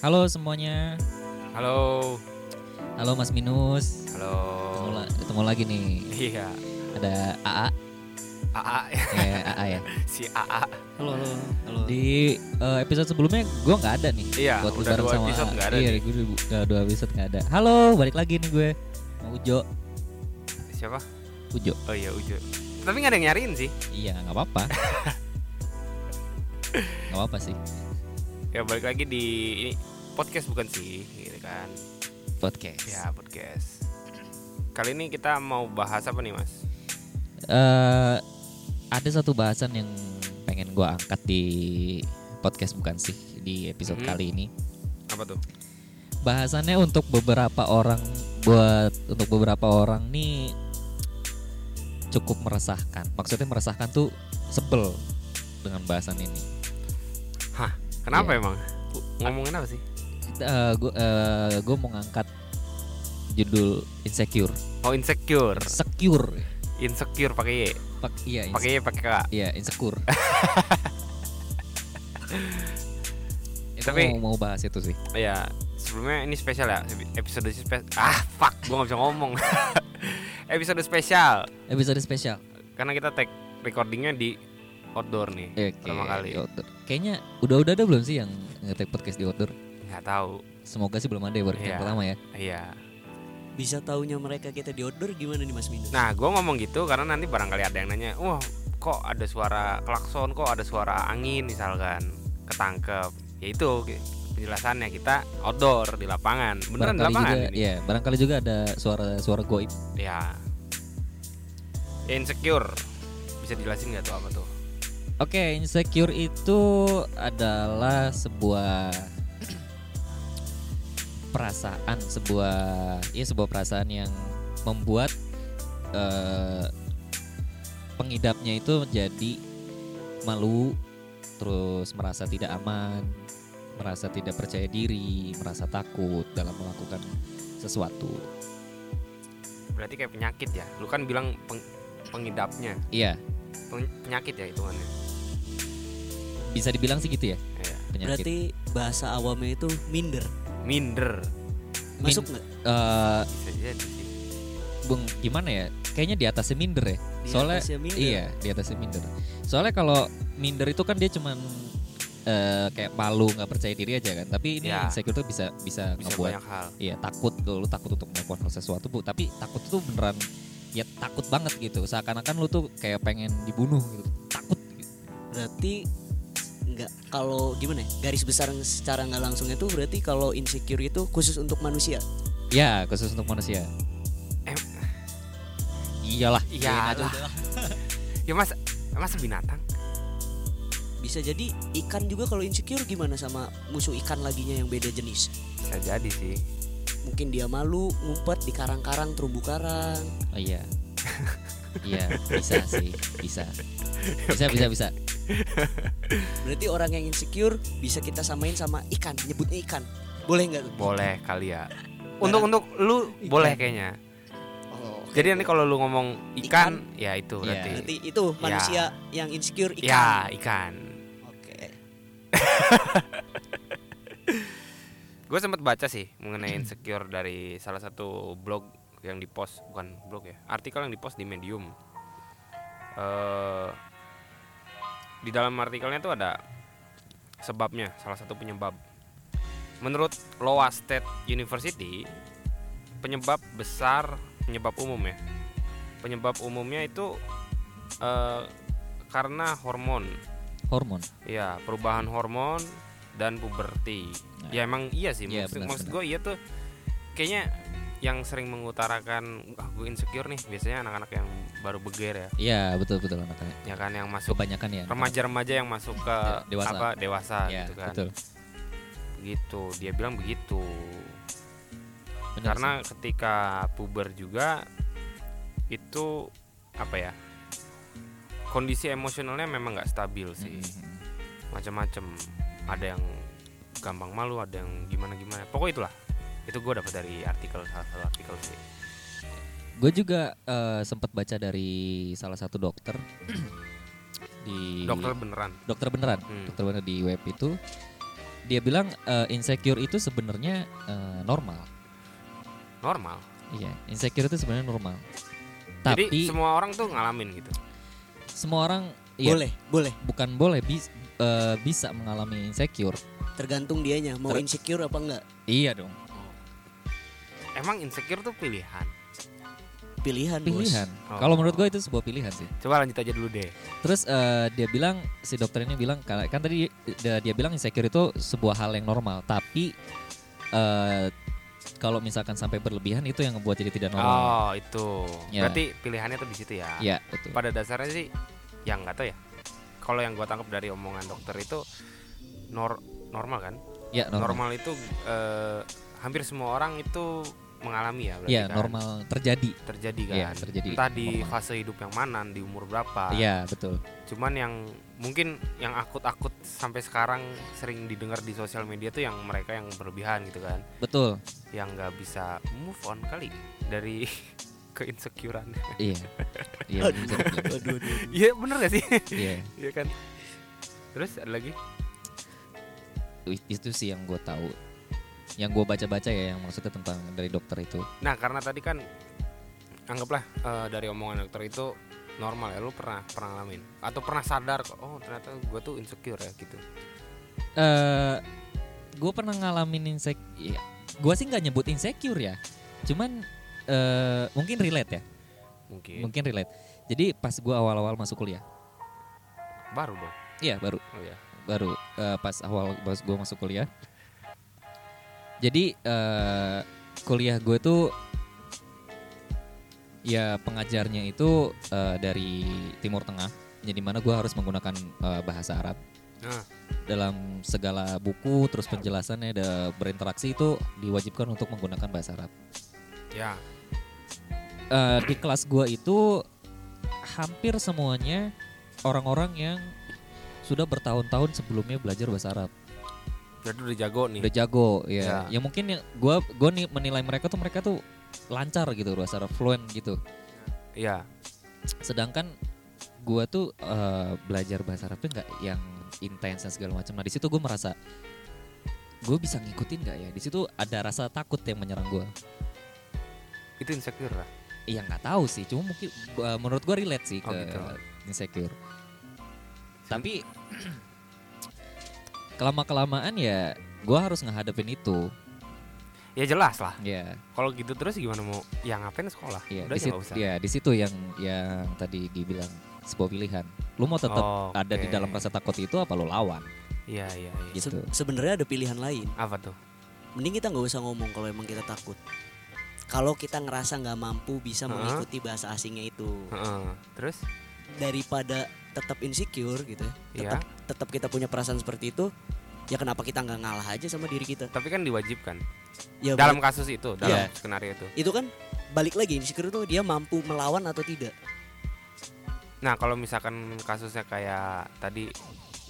Halo semuanya. Halo, Halo Mas Minus. halo. Ketemu, la- ketemu lagi nih. Iya, Ada AA. AA Eh, AA ya. si AA. Halo, halo, halo. Di eh, episode sebelumnya gue nggak ada nih. Iya, Waktu udah bareng dua sama episode nggak ada Iya, nih. gue udah bu- udah dua episode nggak ada. Halo, balik lagi nih gue. Mau Ujo. Siapa? Ujo. Oh iya, Ujo. Tapi nggak ada yang nyariin sih. Iya, nggak apa-apa. Nggak apa-apa sih. Ya balik lagi di ini podcast bukan sih, gitu kan? Podcast. Ya podcast. Kali ini kita mau bahas apa nih mas? Eh, ada satu bahasan yang pengen gue angkat di podcast bukan sih di episode Mhm. kali ini. Apa tuh? bahasannya untuk beberapa orang buat untuk beberapa orang nih cukup meresahkan. Maksudnya meresahkan tuh sebel dengan bahasan ini. Kenapa Iya. emang? Ngomongin apa sih? gue eh, mau ngangkat judul insecure, Oh insecure, secure, insecure pakai Y, Pak, iya, inse- pakai Y pakai K. iya insecure. Ya, gua Tapi- mau, mau bahas itu sih. Ya sebelumnya ini spesial ya episode spesial. Ah fuck, gua nggak bisa ngomong. episode spesial Episode spesial. karena kita tag recordingnya di outdoor nih. Oke, Iya, Pertama kali. di outdoor. Kayaknya udah-udah ada belum sih yang ngetek podcast di outdoor? Nggak tahu. Semoga sih belum ada ya baru Iya. yang pertama ya. Iya. Bisa taunya mereka kita di outdoor gimana nih Mas Minus? Nah, gue ngomong gitu karena nanti barangkali ada yang nanya, wah kok ada suara klakson, kok ada suara angin misalkan, ketangkep. Ya itu ki- penjelasannya kita outdoor di lapangan, beneran di barangkali lapangan juga, ini. ya barangkali juga ada suara-suara goib. Ya. Ya, Insecure bisa dijelasin nggak tuh apa tuh? Oke, insecure itu adalah sebuah perasaan, sebuah ya sebuah perasaan yang membuat eh, pengidapnya itu menjadi malu, terus merasa tidak aman, merasa tidak percaya diri, merasa takut dalam melakukan sesuatu. Berarti kayak penyakit ya. Lu kan bilang peng- pengidapnya, Iya, Peng- penyakit ya hitungannya. bisa dibilang sih gitu ya. gitu. Iya. Penyakit. Berarti bahasa awamnya itu minder. Minder Masuk nggak? Eh, bisa jadi sih. Bung gimana ya? Kayaknya di atasnya minder ya. Di Soalnya atasnya minder. iya, di atasnya minder. Soalnya kalau minder itu kan dia cuman eh, kayak malu nggak percaya diri aja kan. Tapi ini Ya. insecure tuh bisa bisa, Bisa ngebuat banyak hal. iya takut tuh, lu takut untuk melakukan hal sesuatu bu. Tapi takut tuh beneran ya takut banget gitu. Seakan-akan lu tuh kayak pengen dibunuh gitu. Takut. Gitu. Berarti nggak kalau gimana ya? Garis besar yang secara nggak langsungnya tuh berarti kalau insecure itu khusus untuk manusia. Ya khusus untuk manusia. Em- Iyalah. Iyalah. iyain aja udah lah. Ya mas, mas binatang. Bisa jadi ikan juga kalau insecure gimana sama musuh ikan laginya yang beda jenis. Bisa jadi sih. Mungkin dia malu ngumpet di karang-karang terumbu karang. Oh iya. Iya, bisa sih, bisa. Bisa bisa bisa. Berarti orang yang insecure bisa kita samain sama ikan, nyebutnya ikan. Boleh nggak? tuh? Boleh kali ya. Untuk untuk lu boleh kayaknya. Oh, oke. Jadi nanti kalau lu ngomong ikan, ya itu Iya. berarti. Berarti itu manusia yang insecure ikan. Ya, ikan. Oke. Gue sempat baca sih mengenai insecure dari salah satu blog yang dipost bukan blog ya, artikel yang dipost di Medium. Eh di dalam artikelnya tuh ada sebabnya, salah satu penyebab. Menurut Iowa State University, penyebab besar, penyebab umum ya. Penyebab umumnya itu eh karena hormon Hormon. Iya, perubahan hormon dan puberti. Nah. Ya emang iya sih, Iya, maksud, benar, maksud benar. gue iya tuh kayaknya yang sering mengutarakan ah gue insecure nih biasanya anak-anak yang baru beger ya, Iya, betul betul anak ya kan yang masuk Kebanyakan ya. remaja-remaja yang masuk ke De- dewasa. apa dewasa Iya, gitu kan. betul. Gitu, dia bilang begitu. Benar Karena ketika puber juga itu apa ya? Kondisi emosionalnya memang nggak stabil sih. sih. Mm-mm. macam-macam ada yang gampang malu ada yang gimana gimana pokoknya itulah itu gue dapat dari artikel salah satu artikel sih Gue juga eh, sempat baca dari salah satu dokter di dokter beneran Iya. dokter beneran, Hmm. dokter beneran di web itu dia bilang eh, insecure itu sebenarnya eh, normal. normal Iya, insecure itu sebenarnya normal. Tapi jadi semua, semua orang tuh ngalamin gitu orang iya, Boleh, boleh. bukan boleh bis- eh, bisa mengalami insecure. Tergantung dianya mau Ter- insecure apa enggak. Iya dong. emang insecure tuh pilihan Pilihan, bos. Pilihan. Oh. Kalau menurut gue itu sebuah pilihan sih. coba lanjut aja dulu deh Terus eh, dia bilang si dokter ini bilang kan kan tadi dia, dia bilang insecure itu sebuah hal yang normal, tapi eh, kalau misalkan sampai berlebihan itu yang ngebuat jadi tidak normal. oh itu Ya. berarti pilihannya tuh di situ ya Iya, betul. pada dasarnya sih yang nggak tahu ya kalau yang gua tangkap dari omongan dokter itu nor- normal kan Ya, normal. normal, itu eh, hampir semua orang itu mengalami ya berarti Iya, kan? normal terjadi. terjadi kan Iya, terjadi entah di normal. fase hidup yang mana di umur berapa Iya, betul. cuman yang mungkin yang akut-akut sampai sekarang sering didengar di sosial media tuh yang mereka yang berlebihan gitu kan Betul. yang nggak bisa move on kali dari keinsecurean Iya. Iya. bisa dibilang. Aduh, aduh. iya bener gak sih Iya. iya kan terus ada lagi Itu- Itu sih yang gue tahu. Yang gue baca-baca ya yang maksudnya tentang dari dokter itu. nah karena tadi kan anggaplah eh, dari omongan dokter itu normal ya lu pernah pernah ngalamin atau pernah sadar kok oh ternyata gue tuh insecure ya gitu eh gue pernah ngalamin insecure. Gue sih nggak nyebut insecure ya. Cuman eh mungkin relate ya. mungkin Mungkin relate. Jadi pas gue awal-awal masuk kuliah. baru dong Iya baru oh ya baru eh, pas awal pas gue masuk kuliah. Jadi eh kuliah gue tuh ya pengajarnya itu eh, dari Timur Tengah. Jadi mana gue harus menggunakan eh, bahasa Arab nah dalam segala buku terus penjelasannya ada berinteraksi itu diwajibkan untuk menggunakan bahasa Arab. ya Eh, di kelas gua itu hampir semuanya orang-orang yang sudah bertahun-tahun sebelumnya belajar bahasa Arab. jadi udah jago nih Udah jago ya. Ya Ya. mungkin yang gua gua nih menilai mereka tuh mereka tuh lancar gitu bahasa Arab fluent gitu. iya Sedangkan gua tuh eh, belajar bahasa Arabnya nggak yang intens dan segala macam. Nah, di situ gua merasa gue bisa ngikutin gak ya? Di situ ada rasa takut yang menyerang gua. itu insecure lah Iya nggak tahu sih, cuma mungkin eh, menurut gua relate sih Oh, ke gitu. insecure. Tapi kelama kelamaan ya gua harus ngehadapin itu. ya jelas lah Ya, kalau gitu terus gimana mau yang ngapain sekolah ya udah di ya situ nggak usah ya di situ yang yang tadi dibilang sebuah pilihan. Lu mau tetap Oh, Oke. ada di dalam rasa takut itu apa lu lawan? iya iya iya. Gitu. Se- Sebenarnya ada pilihan lain. apa tuh Mending kita nggak usah ngomong kalau emang kita takut. Kalau kita ngerasa nggak mampu bisa Hah? mengikuti bahasa asingnya itu Heeh. terus daripada tetap insecure gitu, ya, tetap Iya. tetap kita punya perasaan seperti itu, ya kenapa kita nggak ngalah aja sama diri kita? tapi kan diwajibkan Ya dalam kasus itu dalam Iya. skenario itu itu kan balik lagi insecure tuh dia mampu melawan atau tidak nah kalau misalkan kasusnya kayak tadi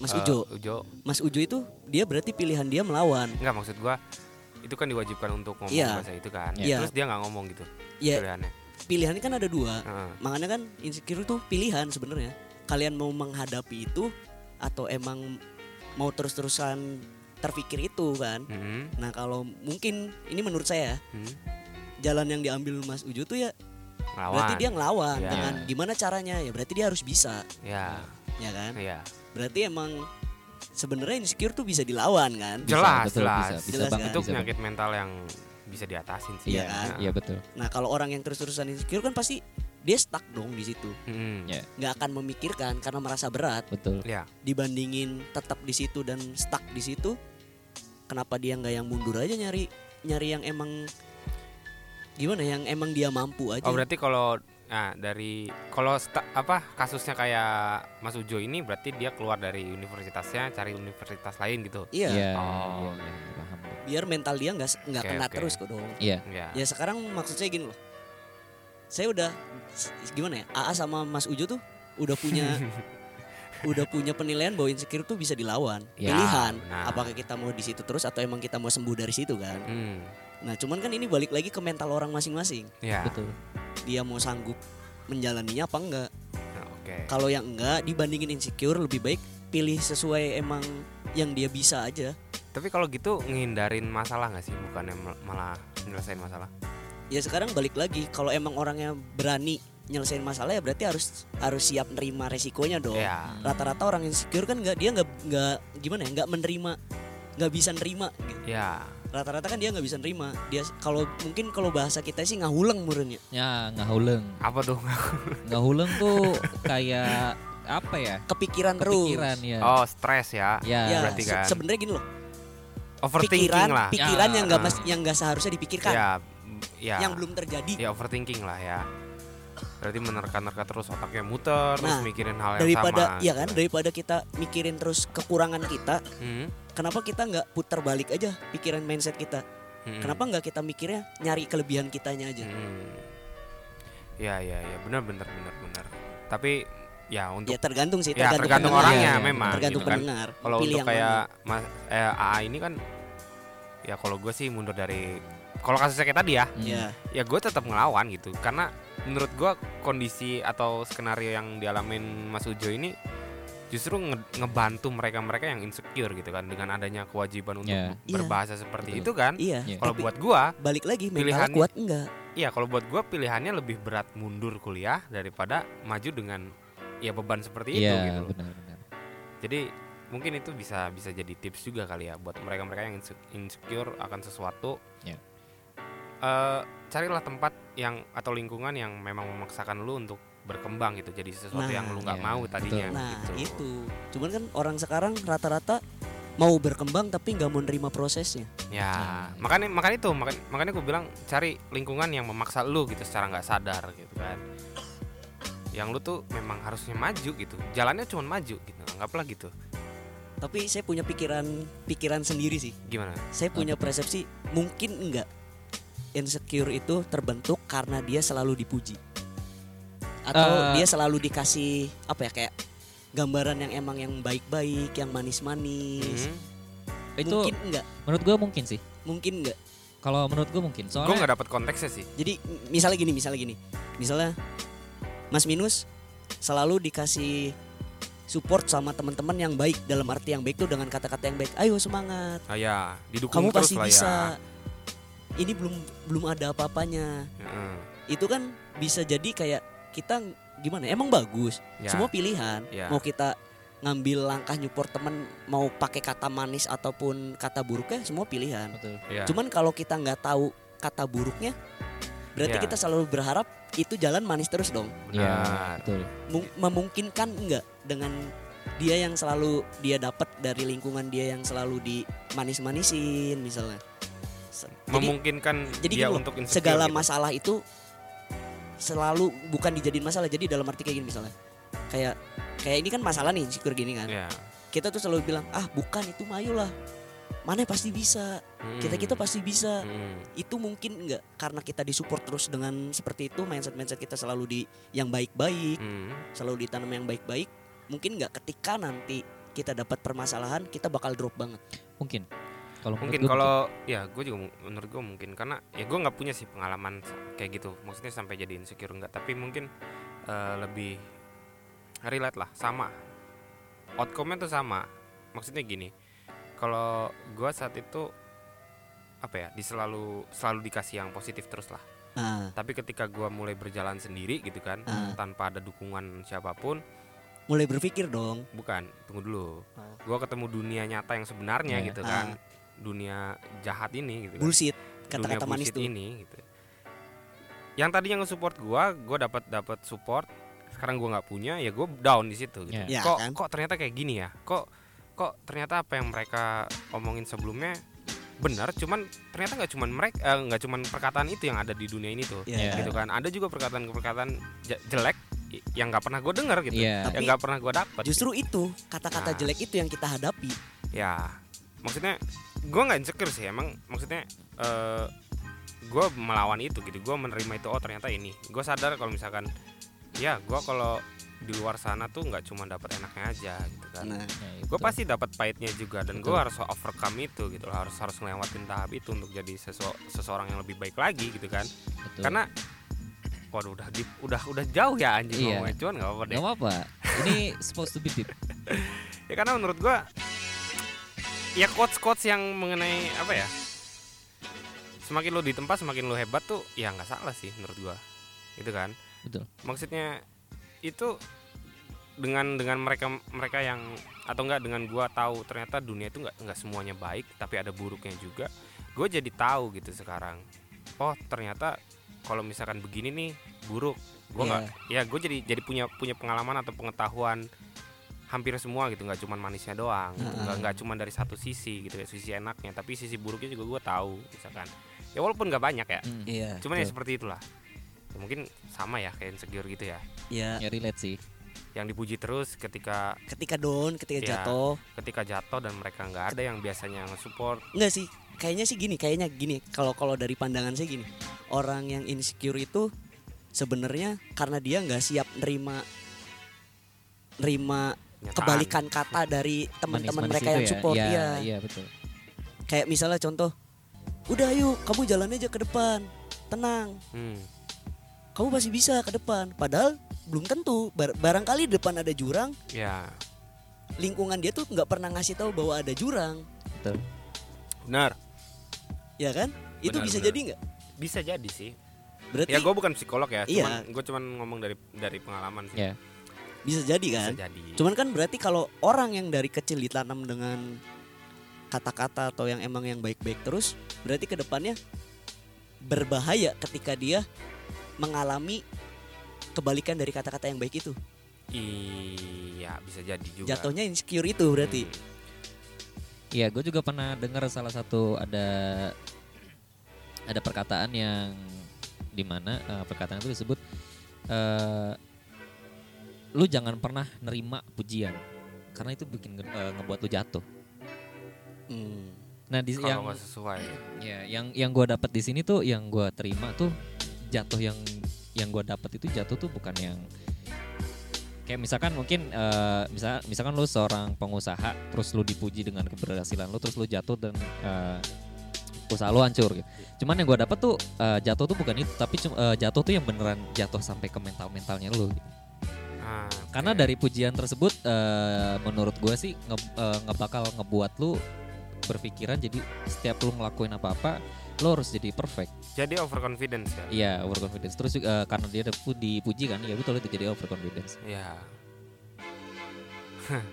Mas eh, Ujo Ujo Mas Ujo itu dia berarti pilihan dia melawan nggak maksud gua itu kan diwajibkan untuk ngomong Iya. bahasa itu kan Iya. terus dia nggak ngomong gitu ya pilihannya pilihannya kan ada dua Heeh. makanya kan insecure tuh pilihan sebenarnya kalian mau menghadapi itu atau emang mau terus-terusan terpikir itu kan Mhm. nah kalau mungkin ini menurut saya Mhm. jalan yang diambil Mas Ujo tuh ya Ngelawan. berarti dia ngelawan Iya. dengan gimana caranya ya berarti dia harus bisa ya ya kan iya berarti emang sebenarnya insecure tuh bisa dilawan kan Bisa, Jelas, betul, jelas. bisa, bisa Jelas banget, bisa itu kan? banget. penyakit mental yang bisa diatasin sih Iya, Iya kan? iya betul. Nah kalau orang yang terus-terusan insecure kan pasti dia stuck dong di situ, Mhm. Iya. nggak akan memikirkan karena merasa berat Betul. Iya. dibandingin tetap di situ dan stuck di situ. Kenapa dia nggak yang mundur aja nyari nyari yang emang gimana yang emang dia mampu aja? Oh berarti kalau nah dari kalau sta- apa kasusnya kayak Mas Ujo ini berarti dia keluar dari universitasnya cari universitas lain gitu. Iya. Iya, Oh. iya, iya, paham. biar mental dia nggak se- nggak Oke, kena oke. terus kok dong. Iya. Ya. Ya sekarang maksud saya gini loh, saya udah s- gimana ya? AA sama Mas Ujo tuh udah punya udah punya penilaian bahwa insecure tuh bisa dilawan Ya, pilihan benar. apakah kita mau di situ terus atau emang kita mau sembuh dari situ kan Hmm. nah cuman kan ini balik lagi ke mental orang masing-masing Ya. Betul. dia mau sanggup menjalaninya apa enggak Nah, Oke. kalau yang enggak dibandingin insecure lebih baik pilih sesuai emang yang dia bisa aja Tapi kalau gitu ngindarin masalah nggak sih? Bukannya mel- malah nyelesain masalah? ya sekarang balik lagi kalau emang orangnya berani nyelesain masalah ya berarti harus harus siap nerima resikonya dong Ya. rata-rata orang insecure kan nggak dia nggak nggak gimana ya nggak menerima nggak bisa nerima gitu. Ya. rata-rata kan dia nggak bisa nerima dia kalau mungkin kalau bahasa kita sih ngahuleng murnya Ya ngahuleng. Apa tuh? Ngahuleng tuh kayak apa ya? kepikiran, Kepikiran terus ya. Oh, stres ya. Ya. ya Berarti se- kan. sebenarnya gini loh Overthinking pikiran lah. pikiran Ya. yang nggak mas Ah. yang nggak seharusnya dipikirkan Ya. Ya. yang belum terjadi Ya overthinking lah ya. Berarti menerka-nerka terus otaknya muter, terus Nah, mikirin hal yang daripada sama. ya kan daripada kita mikirin terus kekurangan kita Hmm, kenapa kita nggak putar balik aja pikiran mindset kita hmm, Kenapa nggak kita mikirnya nyari kelebihan kitanya aja? hmm. Ya, ya, ya, benar benar benar benar. Tapi ya untuk Ya tergantung sih, Ya, tergantung, tergantung pendengar. Iya. orangnya ya, memang. tergantung gitu kan. pendengar. mau Kalau pilih untuk yang kayak mas, eh, AA ini kan, ya kalau gue sih mundur dari kalau kasusnya kayak tadi ya, Hmm. mana. ya, ya gue tetap ngelawan gitu. Karena menurut gue kondisi atau skenario yang dialamin Mas Ujo ini justru nge- ngebantu mereka-mereka yang insecure gitu kan dengan adanya kewajiban untuk Ya. Iya. berbahasa seperti Betul. itu kan. iya. Iya. Kalau Tapi buat gue, balik lagi mental pilihan- kuat enggak? Iya kalau buat gue pilihannya lebih berat mundur kuliah daripada maju dengan ya beban seperti itu Iya gitu. loh. benar-benar. Jadi mungkin itu bisa bisa jadi tips juga kali ya buat mereka-mereka yang inse- insecure akan sesuatu. Iya. Ya. Eh, carilah tempat yang atau lingkungan yang memang memaksakan lu untuk berkembang gitu. Jadi sesuatu Nah, yang lu nggak iya, mau betul. tadinya Nah gitu. itu, cuman kan orang sekarang rata-rata mau berkembang tapi nggak mau nerima prosesnya. Ya Nah, iya. makanya makanya itu makanya, makanya gue bilang cari lingkungan yang memaksa lu gitu secara nggak sadar gitu kan. Yang lu tuh memang harusnya maju gitu. Jalannya cuma maju gitu. Anggaplah gitu. Tapi saya punya pikiran pikiran sendiri sih. Gimana? Saya punya Apa tuh? persepsi mungkin enggak insecure itu terbentuk karena dia selalu dipuji atau Eh. dia selalu dikasih apa ya kayak gambaran yang emang yang baik-baik, yang manis-manis. Hmm. Itu Mungkin enggak, menurut gue mungkin sih. mungkin enggak. Kalau menurut gue mungkin. Gue Soalnya nggak dapat konteksnya sih. Jadi m- misalnya gini, misalnya gini. Misalnya Mas Minus selalu dikasih support sama teman-teman yang baik dalam arti yang baik tuh dengan kata-kata yang baik. Ayo semangat, Ah, ya, didukung kamu terus pasti lah bisa. ya. Ini belum belum ada apa-apanya. Heeh. Itu kan bisa jadi kayak kita ng- gimana? Emang bagus. Ya. Semua pilihan. Ya. Mau kita ngambil langkah nyupport teman mau pakai kata manis ataupun kata buruknya semua pilihan. betul. Ya. Cuman kalau kita nggak tahu kata buruknya, berarti Ya. kita selalu berharap itu jalan manis terus dong. Iya Nah, benar. betul. Mung- memungkinkan nggak dengan dia yang selalu dia dapat dari lingkungan dia yang selalu dimanis-manisin misalnya. Se- Jadi memungkinkan jadi dia gini loh, untuk insecure segala gitu. masalah itu selalu bukan dijadiin masalah. Jadi dalam arti kayak gini misalnya, kayak kayak ini kan masalah nih syukur gini kan. Ya. Kita tuh selalu bilang ah bukan itu mayolah, mana pasti bisa, Hmm. kita gitu, kita pasti bisa Hmm. itu mungkin enggak karena kita disupport terus dengan seperti itu mindset mindset kita selalu di yang baik-baik Hmm. selalu ditanam yang baik-baik mungkin enggak ketika nanti kita dapat permasalahan kita bakal drop banget Mungkin. Kalau menurut mungkin gua kalau gitu. ya gue juga mu- menurut gue mungkin karena ya gue nggak punya sih pengalaman s- kayak gitu maksudnya sampai jadi insecure enggak tapi mungkin eh, lebih relate lah sama outcome-nya tuh sama maksudnya gini kalau gue saat itu apa ya di selalu selalu dikasih yang positif terus lah nah tapi ketika gue mulai berjalan sendiri gitu kan Ah. tanpa ada dukungan siapapun mulai berpikir dong bukan tunggu dulu Ah. gue ketemu dunia nyata yang sebenarnya Iya. gitu Ah. kan dunia jahat ini gitu kan bullshit kata-kata dunia manis bullshit tuh ini gitu. Yang tadinya nge-support gua, gua dapat dapat support, sekarang gua nggak punya, ya gua down di situ gitu. Iya. Ya, kok kan? kok ternyata kayak gini ya? Kok kok ternyata apa yang mereka omongin sebelumnya benar, cuman ternyata nggak cuman mereka eh, nggak cuman perkataan itu yang ada di dunia ini tuh. Iya. Gitu kan. Ada juga perkataan-perkataan je- jelek i- yang nggak pernah gua dengar gitu. Iya. Yang Tapi- nggak pernah gua dapat. justru itu Nah. kata-kata jelek itu yang kita hadapi ya maksudnya gue nggak insecure sih emang maksudnya eh gue melawan itu gitu gue menerima itu oh ternyata ini gue sadar kalau misalkan ya gue kalau di luar sana tuh nggak cuma dapat enaknya aja gitu kan nah Ya, gue betul. pasti dapat pahitnya juga dan gue Betul. harus overcome itu gitu loh. harus harus ngelewatin tahap itu untuk jadi sesu- seseorang yang lebih baik lagi gitu kan Betul. karena waduh udah deep- udah udah jauh ya anjing Iya. ngomongnya cuman nggak apa-apa deh Gak apa-apa. Ini supposed to be deep. ya karena menurut gua ya quotes quotes yang mengenai apa ya semakin lu di tempat semakin lu hebat tuh ya nggak salah sih menurut gua gitu kan Betul. maksudnya itu dengan dengan mereka mereka yang atau enggak dengan gua tahu ternyata dunia itu enggak enggak semuanya baik tapi ada buruknya juga gue jadi tahu gitu sekarang oh ternyata kalau misalkan begini nih buruk gue nggak ya gue jadi jadi punya punya pengalaman atau pengetahuan hampir semua gitu nggak cuman manisnya doang gitu. nggak nggak cuman dari satu sisi gitu ya sisi enaknya tapi sisi buruknya juga gue tahu misalkan ya walaupun nggak banyak ya Hmm. Iya. cuman ya betul. seperti itulah Ya mungkin sama ya kayak insecure gitu ya Ya, Ya relate sih. yang dipuji terus ketika ketika down, ketika Iya. jatuh. ketika jatuh dan mereka nggak ada yang biasanya nge-support Enggak sih. Kayaknya sih gini, kayaknya gini. Kalau kalau dari pandangan saya gini, orang yang insecure itu sebenarnya karena dia nggak siap nerima nerima nyataan. kebalikan kata dari teman-teman Manis-manis mereka itu yang support ya. Iya, ya. iya betul. Kayak misalnya contoh, udah yuk kamu jalan aja ke depan, tenang, Hmm, kamu masih bisa ke depan. Padahal belum tentu. Bar- barangkali di depan ada jurang, ya lingkungan dia tuh nggak pernah ngasih tahu bahwa ada jurang, Betul. benar ya kan? Itu Benar, bisa benar. jadi nggak? bisa jadi sih ya Berarti gue bukan psikolog ya Iya. cuman gue cuman ngomong dari dari pengalaman sih Ya. bisa jadi bisa kan? jadi Cuman kan berarti kalau orang yang dari kecil ditanam dengan kata-kata atau yang emang yang baik-baik terus, berarti ke depannya berbahaya ketika dia mengalami kebalikan dari kata-kata yang baik itu. iya bisa jadi juga Jatuhnya insecure itu berarti. Hmm, Iya, gue juga pernah dengar salah satu ada ada perkataan yang dimana perkataan itu disebut eh, lu jangan pernah nerima pujian karena itu bikin nge- eh, ngebuat lu jatuh. Hmm. Nah, di kalau yang nggak sesuai ya, yang yang gue dapat di sini tuh yang gue terima tuh jatuh yang yang gue dapat itu jatuh tuh bukan yang kayak misalkan mungkin eh, misal misalkan lu seorang pengusaha terus lu dipuji dengan keberhasilan lu terus lu jatuh dan eh, usaha lu hancur gitu. Cuman yang gua dapet tuh eh, jatuh tuh bukan itu tapi cum- eh, jatuh tuh yang beneran jatuh sampai ke mental-mentalnya lu. Ah, Karena oke. dari pujian tersebut eh, menurut gua sih nge, eh, ngebakal ngebuat lu berpikiran jadi setiap lu ngelakuin apa-apa lo harus jadi perfect. jadi overconfidence ya Iya, overconfidence. Terus juga, eh, karena dia dipu- dipuji kan, ya betul itu jadi overconfidence. iya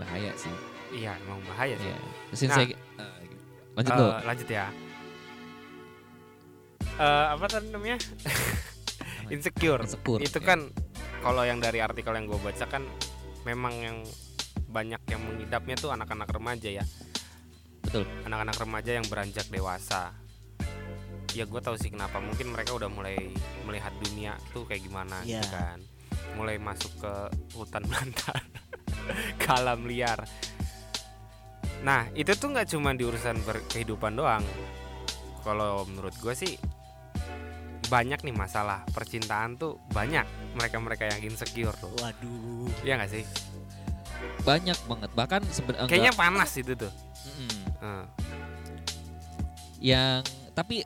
Bahaya sih. iya emang bahaya sih Iya. Terus yang Hmm. Nah. saya eh, lanjut Eh, lo. lanjut ya Eh, apa tadi namanya insecure Insecure, itu ya. kan kalau yang dari artikel yang gue baca kan memang yang banyak yang mengidapnya tuh anak-anak remaja ya Betul. anak-anak remaja yang beranjak dewasa ya gue tahu sih kenapa mungkin mereka udah mulai melihat dunia tuh kayak gimana gitu Iya. kan mulai masuk ke hutan belantara ke alam liar nah itu tuh nggak cuma di urusan ber- kehidupan doang kalau menurut gue sih banyak nih masalah percintaan tuh banyak mereka-mereka yang insecure tuh Waduh. Iya gak sih? Banyak banget. Bahkan sebenarnya Kayaknya panas itu tuh. Mm-mm. Heeh. yang tapi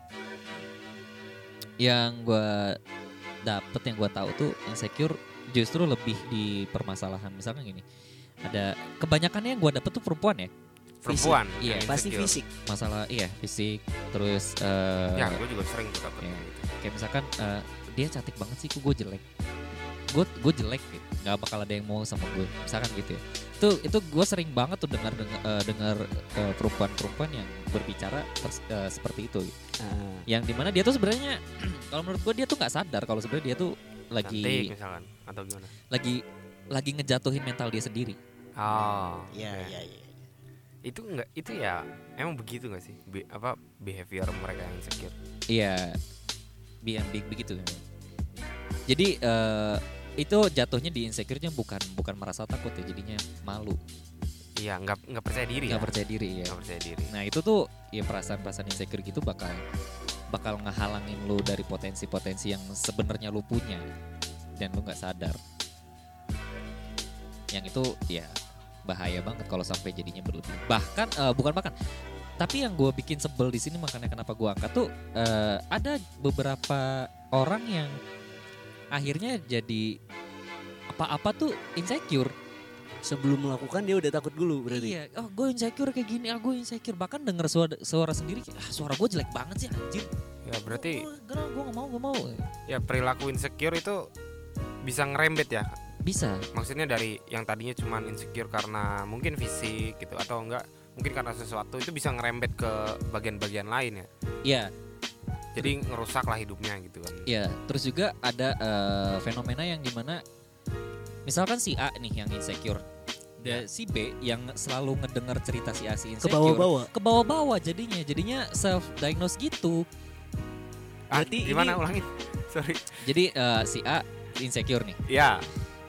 yang gua dapet yang gua tahu tuh insecure justru lebih di permasalahan misalnya gini ada kebanyakannya yang gua dapet tuh perempuan ya perempuan. Iya, yang Pasti Ya, insecure. fisik. masalah iya fisik terus eh, Ya, gue juga sering tuh dapet Iya. gitu. kayak misalkan eh, dia cantik banget sih kok gue jelek gue gue jelek gitu nggak bakal ada yang mau sama gue misalkan gitu ya itu itu gue sering banget tuh dengar dengar, eh, dengar eh, perempuan-perempuan yang berbicara pers- eh, seperti itu gitu. Ah. yang dimana dia tuh sebenarnya kalau menurut gue dia tuh nggak sadar kalau sebenarnya dia tuh lagi Cantik ya. misalkan atau gimana? lagi lagi ngejatuhin mental dia sendiri Oh. Iya, oke. iya, iya. Itu enggak itu ya emang begitu gak sih? Be- apa behavior mereka yang insecure? iya biang big begitu jadi eh, itu jatuhnya di insecure-nya bukan bukan merasa takut ya jadinya malu Iya, nggak nggak percaya diri. nggak ya. percaya diri ya Nggak percaya diri. nah itu tuh ya perasaan-perasaan insecure gitu bakal bakal ngehalangin lu dari potensi-potensi yang sebenarnya lu punya dan lu nggak sadar yang itu ya bahaya banget kalau sampai jadinya berlebih bahkan eh, bukan bahkan tapi yang gue bikin sebel di sini makanya kenapa gue angkat tuh eh, ada beberapa orang yang akhirnya jadi apa-apa tuh insecure sebelum melakukan dia udah takut dulu berarti. Iya, oh gue insecure kayak gini, ah gue insecure bahkan denger suara suara sendiri, kayak, ah suara gue jelek banget sih anjir. ya berarti gue gue gak mau gue mau. ya perilaku insecure itu bisa ngerembet ya Bisa, maksudnya dari yang tadinya cuman insecure karena mungkin fisik gitu atau enggak mungkin karena sesuatu itu bisa ngerembet ke bagian-bagian lain ya iya jadi ngerusak lah hidupnya gitu kan Ya, terus juga ada eh, fenomena yang dimana misalkan si A nih yang insecure, dan si B yang selalu ngedengar cerita si A si Ke insecure, bawah-bawah. Iya. ke bawah-bawah jadinya, jadinya self diagnose gitu. Ah, Berarti gimana ini- ulangin sorry Jadi eh, si A insecure nih. ya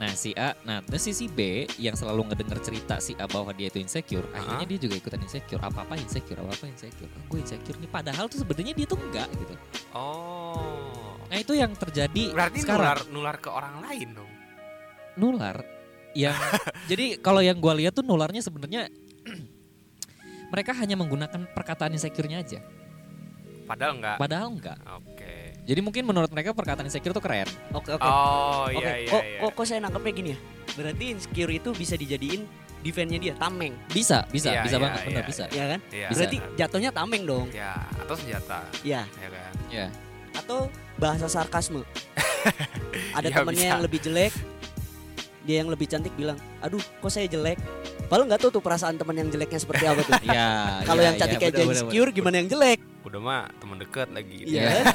Nah si A, nah terus si, si B yang selalu ngedenger cerita si A bahwa dia itu insecure, akhirnya dia juga ikutan insecure. Apa apa insecure, apa apa insecure. Ah, gue insecure nih. Padahal tuh sebenarnya dia tuh enggak gitu. oh Nah itu yang terjadi berarti sekarang. nular nular ke orang lain dong nular yang jadi kalau yang gua lihat tuh nularnya sebenarnya mereka hanya menggunakan perkataan insecure-nya aja padahal enggak padahal enggak oke jadi mungkin menurut mereka perkataan insecure tuh keren Oke oke. oh Oke. iya iya kok, iya. kok kok saya nangkepnya gini ya? Berarti insecure itu bisa dijadiin defense-nya dia tameng, bisa bisa Iya, bisa iya, banget benar iya, bisa ya kan? Iya. Bisa. Berarti jatuhnya tameng dong. ya atau senjata Ya, ya kan ya atau bahasa sarkasme. Ada Ya, temennya bisa. yang lebih jelek, dia yang lebih cantik bilang, "Aduh, kok saya jelek?" Padahal nggak tahu tuh perasaan teman yang jeleknya seperti apa tuh. ya Kalau ya, yang cantik ya, aja benar, benar, insecure, gimana yang jelek? udah mah temen dekat lagi gitu. Iya. Iya. kan?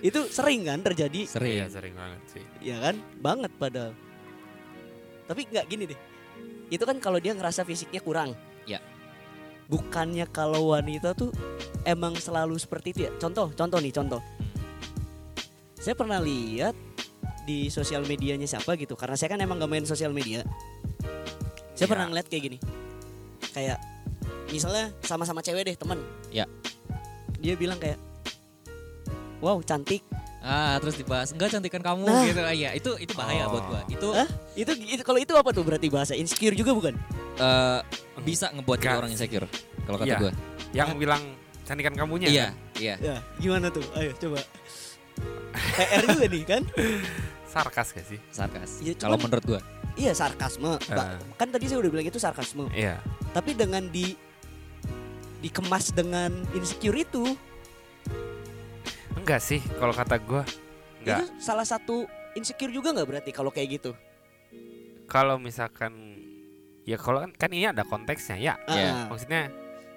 itu sering kan terjadi, benar. sering Iya, sering banget sih ya kan? Banget padahal. Tapi nggak gini deh. Itu kan kalau dia ngerasa fisiknya kurang. Ya. Bukannya kalau wanita tuh emang selalu seperti itu ya. Contoh, contoh nih, contoh. Hmm. Saya pernah lihat di sosial medianya siapa gitu. Karena saya kan emang gak main sosial media. Ya. Saya Iya. pernah ngeliat kayak gini. Kayak misalnya sama-sama cewek deh, temen. Ya. Dia bilang kayak, wow cantik. ah terus dibahas enggak cantikan kamu Nah. gitu ah, iya itu itu bahaya Oh. buat gua itu Hah? Itu, itu kalau itu apa tuh berarti bahasa insecure juga bukan? eh, bisa ngebuat jadi Enggak. orang insecure kalau kata Iya. gua yang bilang cantikan kamunya iya kan? iya Ya, gimana tuh? Ayo coba. PR juga nih kan? sarkas gak sih sarkas Iya, kalau cuman- menurut gua Iya sarkasme. Eh. Ah. Ba- Kan tadi saya udah bilang itu sarkasme. iya Tapi dengan di dikemas dengan insecure itu, enggak sih kalau kata gua enggak itu salah satu insecure juga nggak berarti kalau kayak gitu? kalau misalkan ya kalau kan, kan ini ada konteksnya ya Iya. Ah, maksudnya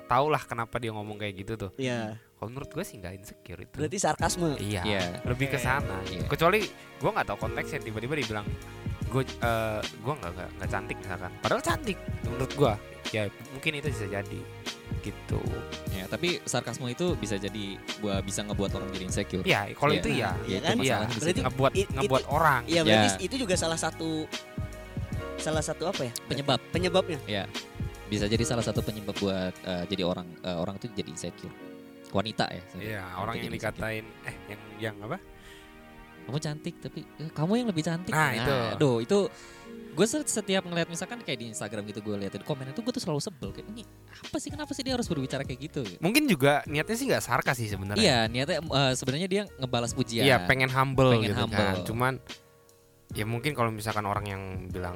tahulah kenapa dia ngomong kayak gitu tuh Iya. kalau menurut gue sih nggak insecure itu Berarti sarkasme. iya Iya. lebih ke sana Iya. kecuali gue nggak tahu konteksnya tiba-tiba dibilang gue eh gue nggak nggak nggak cantik misalkan padahal cantik menurut gue ya mungkin itu bisa jadi gitu Ya, tapi sarkasme itu bisa jadi buat bisa ngebuat orang jadi insecure. ya kalau Iya. itu ya Iya itu kan? masalahnya di Berarti situ. ngebuat It- ngebuat orang Iya, Ya. berarti itu juga salah satu salah satu apa ya? penyebab Penyebabnya. bisa jadi salah satu penyebab buat eh, jadi orang eh, orang itu jadi insecure. Wanita ya. Iya, orang yang jadi insecure. dikatain eh yang yang apa Kamu cantik tapi eh, kamu yang lebih cantik. Nah, itu. Aduh, itu gue setiap ngeliat misalkan kayak di Instagram gitu gue liatin komen itu gue tuh selalu sebel kayak ini apa sih kenapa sih dia harus berbicara kayak gitu? mungkin juga niatnya sih nggak sarkas sih sebenarnya Iya, niatnya eh, sebenarnya dia ngebalas pujian. Iya, pengen humble Pengen gitu humble. kan. Cuman ya mungkin kalau misalkan orang yang bilang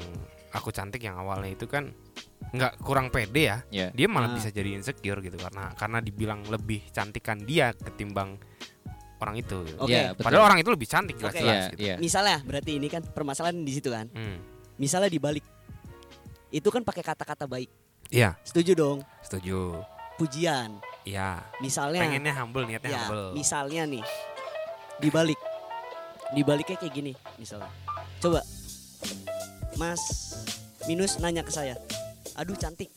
aku cantik yang awalnya itu kan nggak kurang pede ya. Iya. Dia malah Ah. bisa jadi insecure gitu karena karena dibilang lebih cantikan dia ketimbang orang itu. gitu. Oke. Iya, betul. Padahal orang itu lebih cantik Oke. Iya, jelas-jelas gitu. iya. Misalnya berarti ini kan permasalahan di situ kan. Hmm, Misalnya dibalik. Itu kan pakai kata-kata baik. Iya, Setuju dong. setuju. Pujian. Iya, Misalnya pengennya humble niatnya Iya, Ya, humble. misalnya nih dibalik, dibaliknya kayak gini misalnya. Coba, Mas minus nanya ke saya, aduh cantik.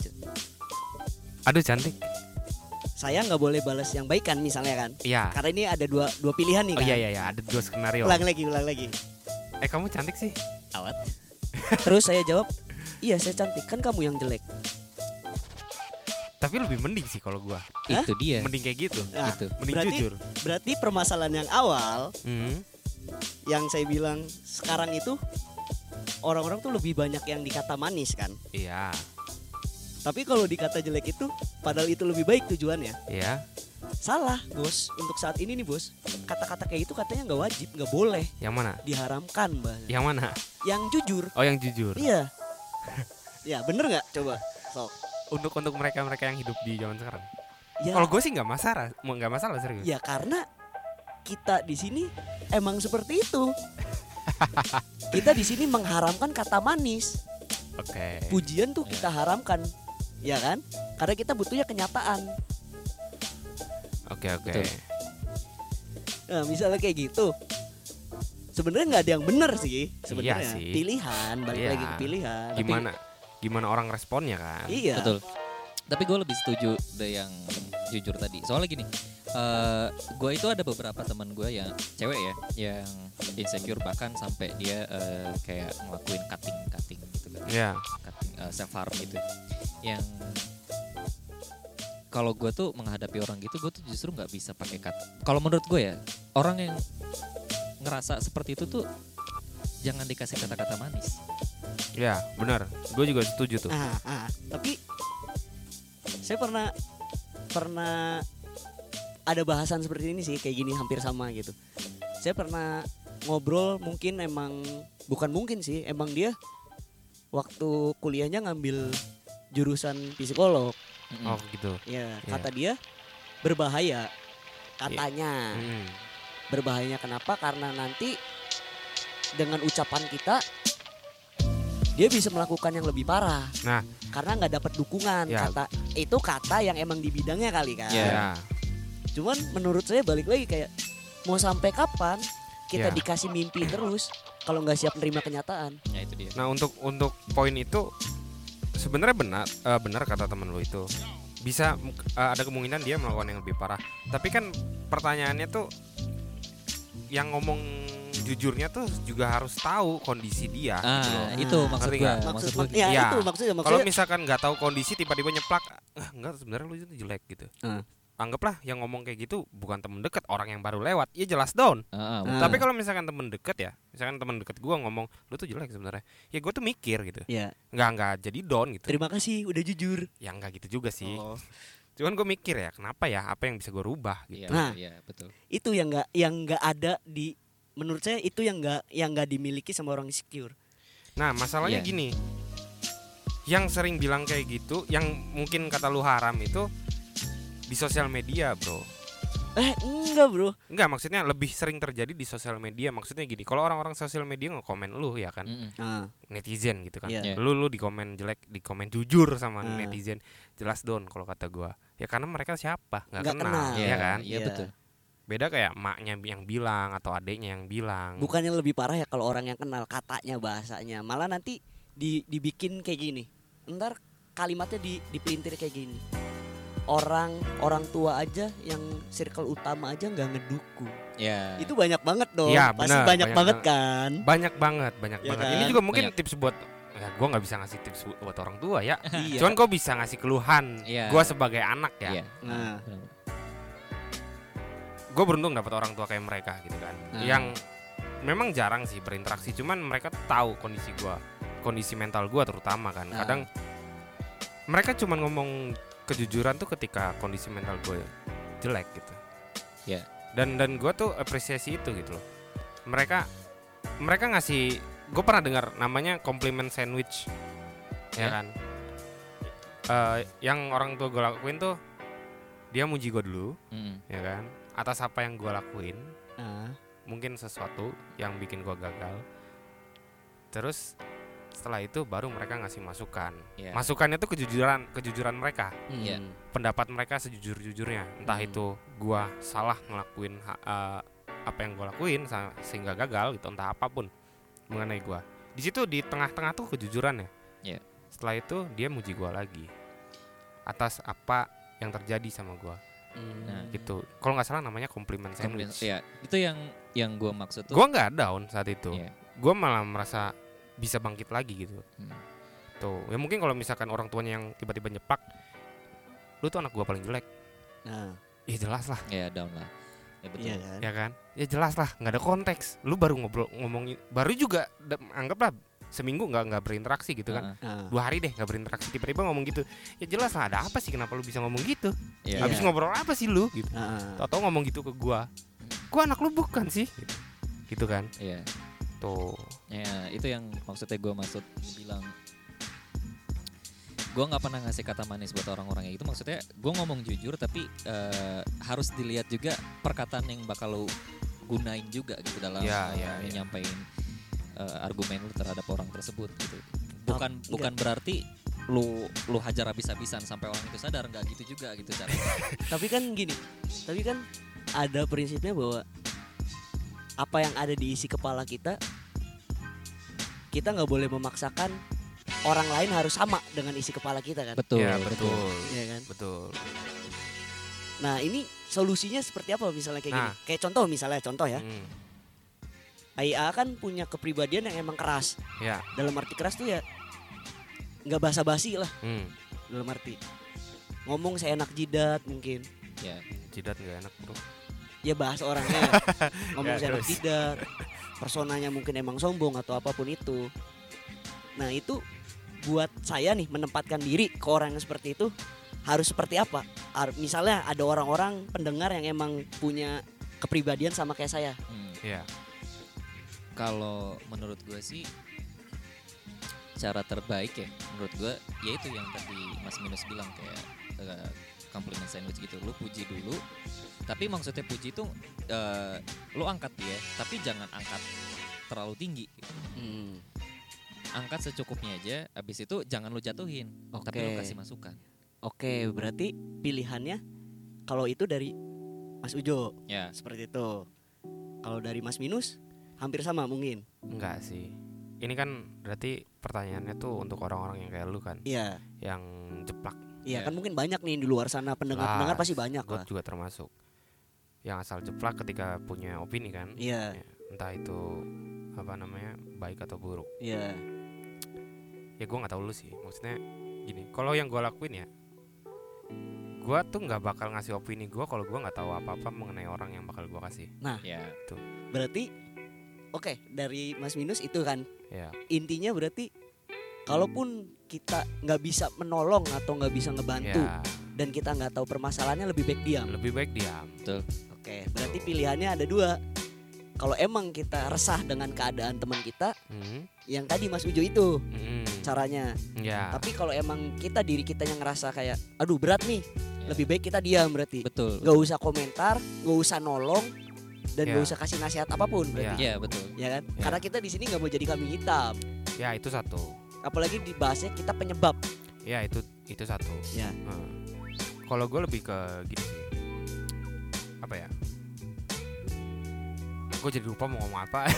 Aduh cantik. Saya nggak boleh balas yang baik kan misalnya kan? Iya. Karena ini ada dua dua pilihan nih Oh kan. iya iya iya, ada dua skenario. Ulang lagi, ulang lagi. Eh kamu cantik sih. Awat. Terus saya jawab, iya saya cantik kan kamu yang jelek. Tapi lebih mending sih kalau gua. Hah? Itu dia. Mending kayak gitu. Nah, Gitu. Mending Berarti- jujur. berarti permasalahan yang awal Hmm. yang saya bilang sekarang itu orang-orang tuh lebih banyak yang dikata manis kan. Iya. Tapi kalau dikata jelek itu padahal itu lebih baik tujuannya. Iya. Salah, bos. Untuk saat ini nih, bos. Kata-kata kayak itu katanya nggak wajib, nggak boleh, Yang mana? Ya. diharamkan, bang. Yang mana? Yang jujur, Oh yang jujur. iya. Ya bener nggak? Coba. Sok. untuk untuk mereka mereka yang hidup di zaman sekarang Ya, kalau gue sih nggak masalah mau nggak masalah serius ya karena kita di sini emang seperti itu. kita di sini mengharamkan kata manis. oke Pujian tuh kita haramkan, ya kan? Karena kita butuhnya kenyataan. oke oke Betul. Nah, misalnya kayak gitu. Sebenarnya nggak ada yang benar sih Iya sebenarnya. sih. Pilihan, balik Iya. lagi ke pilihan. Tapi- gimana gimana orang responnya kan Iya. Betul. Tapi gue lebih setuju deh yang jujur tadi. Soalnya gini, eh gue itu ada beberapa teman gue yang cewek ya, yang insecure bahkan sampai dia eh, kayak ngelakuin cutting, cutting gitu kan, ya cutting eh, self harm gitu. Yang kalau gue tuh menghadapi orang gitu, gue tuh justru nggak bisa pakai cut. Kalau menurut gue ya, orang yang ngerasa seperti itu tuh jangan dikasih kata-kata manis. ya benar gue juga setuju tuh Ah, ah. Tapi saya pernah pernah ada bahasan seperti ini sih kayak gini hampir sama gitu. Saya pernah ngobrol mungkin emang bukan mungkin sih emang dia waktu kuliahnya ngambil jurusan psikolog Mm-mm. oh gitu ya kata dia berbahaya katanya Mm. berbahayanya kenapa karena nanti dengan ucapan kita dia bisa melakukan yang lebih parah nah karena nggak dapat dukungan Ya. kata itu kata yang emang di bidangnya kali kan Ya. ya cuman menurut saya balik lagi kayak mau sampai kapan kita Ya. dikasih mimpi terus kalau nggak siap nerima kenyataan Ya itu dia. Nah untuk untuk poin itu sebenarnya benar eh, benar kata teman lu itu bisa m- eh, ada kemungkinan dia melakukan yang lebih parah. Tapi kan pertanyaannya tuh yang ngomong jujurnya tuh juga harus tahu kondisi dia. gitu loh. Ah, itu maksud Ngerti gue. nggak? Maksud gitu. maksud, gue ya, ya. itu maksudnya Kalau maksudnya misalkan nggak tahu kondisi tiba-tiba nyeplak, "Ah, enggak sebenarnya lu itu jelek gitu. Ah. Anggaplah yang ngomong kayak gitu bukan temen deket orang yang baru lewat, ya jelas down. Ah, ah, Nah. Tapi kalau misalkan temen deket ya, misalkan temen deket gua ngomong lu tuh jelek sebenarnya, ya gue tuh mikir gitu ya nggak nggak jadi down gitu terima kasih udah jujur ya nggak gitu juga sih Oh. cuman gue mikir ya kenapa ya apa yang bisa gue rubah Iya, gitu Nah. iya, betul. itu yang nggak yang nggak ada di menurut saya itu yang nggak yang nggak dimiliki sama orang insecure nah masalahnya Iya. gini yang sering bilang kayak gitu yang mungkin kata lu haram itu di sosial media bro eh enggak bro Enggak maksudnya lebih sering terjadi di sosial media maksudnya gini kalau orang-orang sosial media ngekomen lu ya kan Mm-mm. nah, netizen gitu kan Iya. Iya. lu lu di komen jelek di komen jujur sama Ah. netizen jelas down kalau kata gua ya karena mereka siapa nggak Nggak kenal, kenal. ya kan Iya Iya. betul. beda kayak maknya yang bilang atau adiknya yang bilang bukannya lebih parah ya kalau orang yang kenal katanya bahasanya malah nanti di, dibikin kayak gini ntar kalimatnya di dipelintir kayak gini orang orang tua aja yang circle utama aja nggak ngedukung Iya. itu banyak banget dong Iya, benar, pasti banyak, banyak banget banget. kan banyak banget banyak Iya banget kan? ini juga mungkin Banyak. tips buat ya gue nggak bisa ngasih tips bu- buat orang tua ya iya cuman gue bisa ngasih keluhan Iya. gue sebagai anak ya Iya. nah Benar. gue beruntung dapat orang tua kayak mereka gitu kan Hmm. yang memang jarang sih berinteraksi cuman mereka tahu kondisi gue kondisi mental gue terutama kan Hmm. kadang mereka cuman ngomong kejujuran tuh ketika kondisi mental gue jelek gitu Ya. Iya. dan dan gue tuh apresiasi itu gitu loh mereka mereka ngasih gue pernah dengar namanya compliment sandwich ya Iya. kan Eh, yang orang tua gue lakuin tuh dia muji gue dulu Mm-mm. ya kan atas apa yang gue lakuin nah, mungkin sesuatu yang bikin gue gagal terus setelah itu baru mereka ngasih masukan Iya. masukannya tuh kejujuran kejujuran mereka Iya. hmm. pendapat mereka sejujur jujurnya entah Hmm. itu gue salah ngelakuin ha- eh, apa yang gue lakuin sa- sehingga gagal gitu entah apapun mengenai gue di situ di tengah-tengah tuh kejujurannya Iya. setelah itu dia muji gue lagi atas apa yang terjadi sama gue Hmm. Nah. gitu kalau nggak salah namanya compliment Kemudian- sandwich Iya. Itu yang yang gue maksud tuh. gue nggak down saat itu Iya. gue malah merasa bisa bangkit lagi gitu Hmm. tuh ya mungkin kalau misalkan orang tuanya yang tiba-tiba nyepak lu tuh anak gue paling jelek nah ya jelas lah Iya down lah. Ya betul. iya kan ya kan ya jelas lah nggak ada konteks lu baru ngobrol ngomongin baru juga da- anggaplah seminggu nggak nggak berinteraksi gitu kan Heeh. nah, dua hari deh nggak berinteraksi tiba-tiba ngomong gitu ya jelas lah ada apa sih kenapa lu bisa ngomong gitu Iya. Hmm. habis ngobrol apa sih lu gitu nah. atau ngomong gitu ke gua gua anak lu bukan sih gitu, gitu kan Iya. tuh Ya, itu yang maksudnya gue maksud bilang gue nggak pernah ngasih kata manis buat orang-orang kayak gitu maksudnya gue ngomong jujur tapi eh, harus dilihat juga perkataan yang bakal lo gunain juga gitu dalam Ya, ya, eh, ya. nyampaiin eh, argumen lu terhadap orang tersebut gitu bukan Enggak. bukan berarti lu lu hajar habis-habisan sampai orang itu sadar nggak gitu juga gitu cara tapi kan gini tapi kan ada prinsipnya bahwa apa yang ada di isi kepala kita kita nggak boleh memaksakan orang lain harus sama dengan isi kepala kita kan betul ya, betul. Iya kan Betul. nah ini solusinya seperti apa misalnya kayak Nah. gini kayak contoh misalnya contoh ya Hmm. AIA kan punya kepribadian yang emang keras Ya. dalam arti keras tuh ya nggak basa-basi lah Hmm. dalam arti ngomong seenak jidat mungkin ya Jidat nggak enak bro. ya bahas orangnya ngomong Ya, seenak terus. tidak personanya mungkin emang sombong atau apapun itu nah itu buat saya nih menempatkan diri ke orang yang seperti itu harus seperti apa Har- misalnya ada orang-orang pendengar yang emang punya kepribadian sama kayak saya Hmm. Iya. kalau menurut gue sih cara terbaik ya menurut gue yaitu yang tadi Mas Minus bilang kayak eh, compliment sandwich gitu lu puji dulu tapi maksudnya puji itu eh, lu angkat dia tapi jangan angkat terlalu tinggi angkat secukupnya aja abis itu jangan lu jatuhin tapi lu Oke. kasih masukan oke berarti pilihannya kalau itu dari Mas Ujo ya seperti itu kalau dari Mas Minus hampir sama mungkin Enggak sih. Ini kan berarti pertanyaannya tuh untuk orang-orang yang kayak lu kan, iya yang jeplak. Iya. iya kan mungkin banyak nih di luar sana pendengar-pendengar Lah, pasti banyak Gue lah juga termasuk. Yang asal jeplak ketika punya opini kan. iya Ya, Entah itu apa namanya baik atau buruk. Iya. Ya gue nggak tahu lu sih. Maksudnya gini, kalau yang gue lakuin ya, gue tuh nggak bakal ngasih opini gue kalau gue nggak tahu apa-apa mengenai orang yang bakal gue kasih. ya Berarti oke dari Mas Minus itu kan Ya, intinya berarti kalaupun kita nggak bisa menolong atau nggak bisa ngebantu ya dan kita nggak tahu permasalahannya lebih baik diam. lebih baik diam. Oke, berarti pilihannya ada dua. Kalau emang kita resah dengan keadaan teman kita, Hmm, yang tadi Mas Ujo itu hmm, caranya. ya. Tapi kalau emang kita diri kita yang ngerasa kayak, aduh berat nih, Ya. lebih baik kita diam berarti. betul Nggak usah komentar, nggak usah nolong, dan nggak Ya. usah kasih nasihat apapun berarti. ya Ya. betul Ya kan? Ya. Karena kita di sini nggak mau jadi kambing hitam. ya itu satu. apalagi dibahasnya kita penyebab Ya itu itu satu. Ya. Nah, Kalau gue lebih ke gini sih. Apa ya? Gue jadi lupa mau ngomong apa.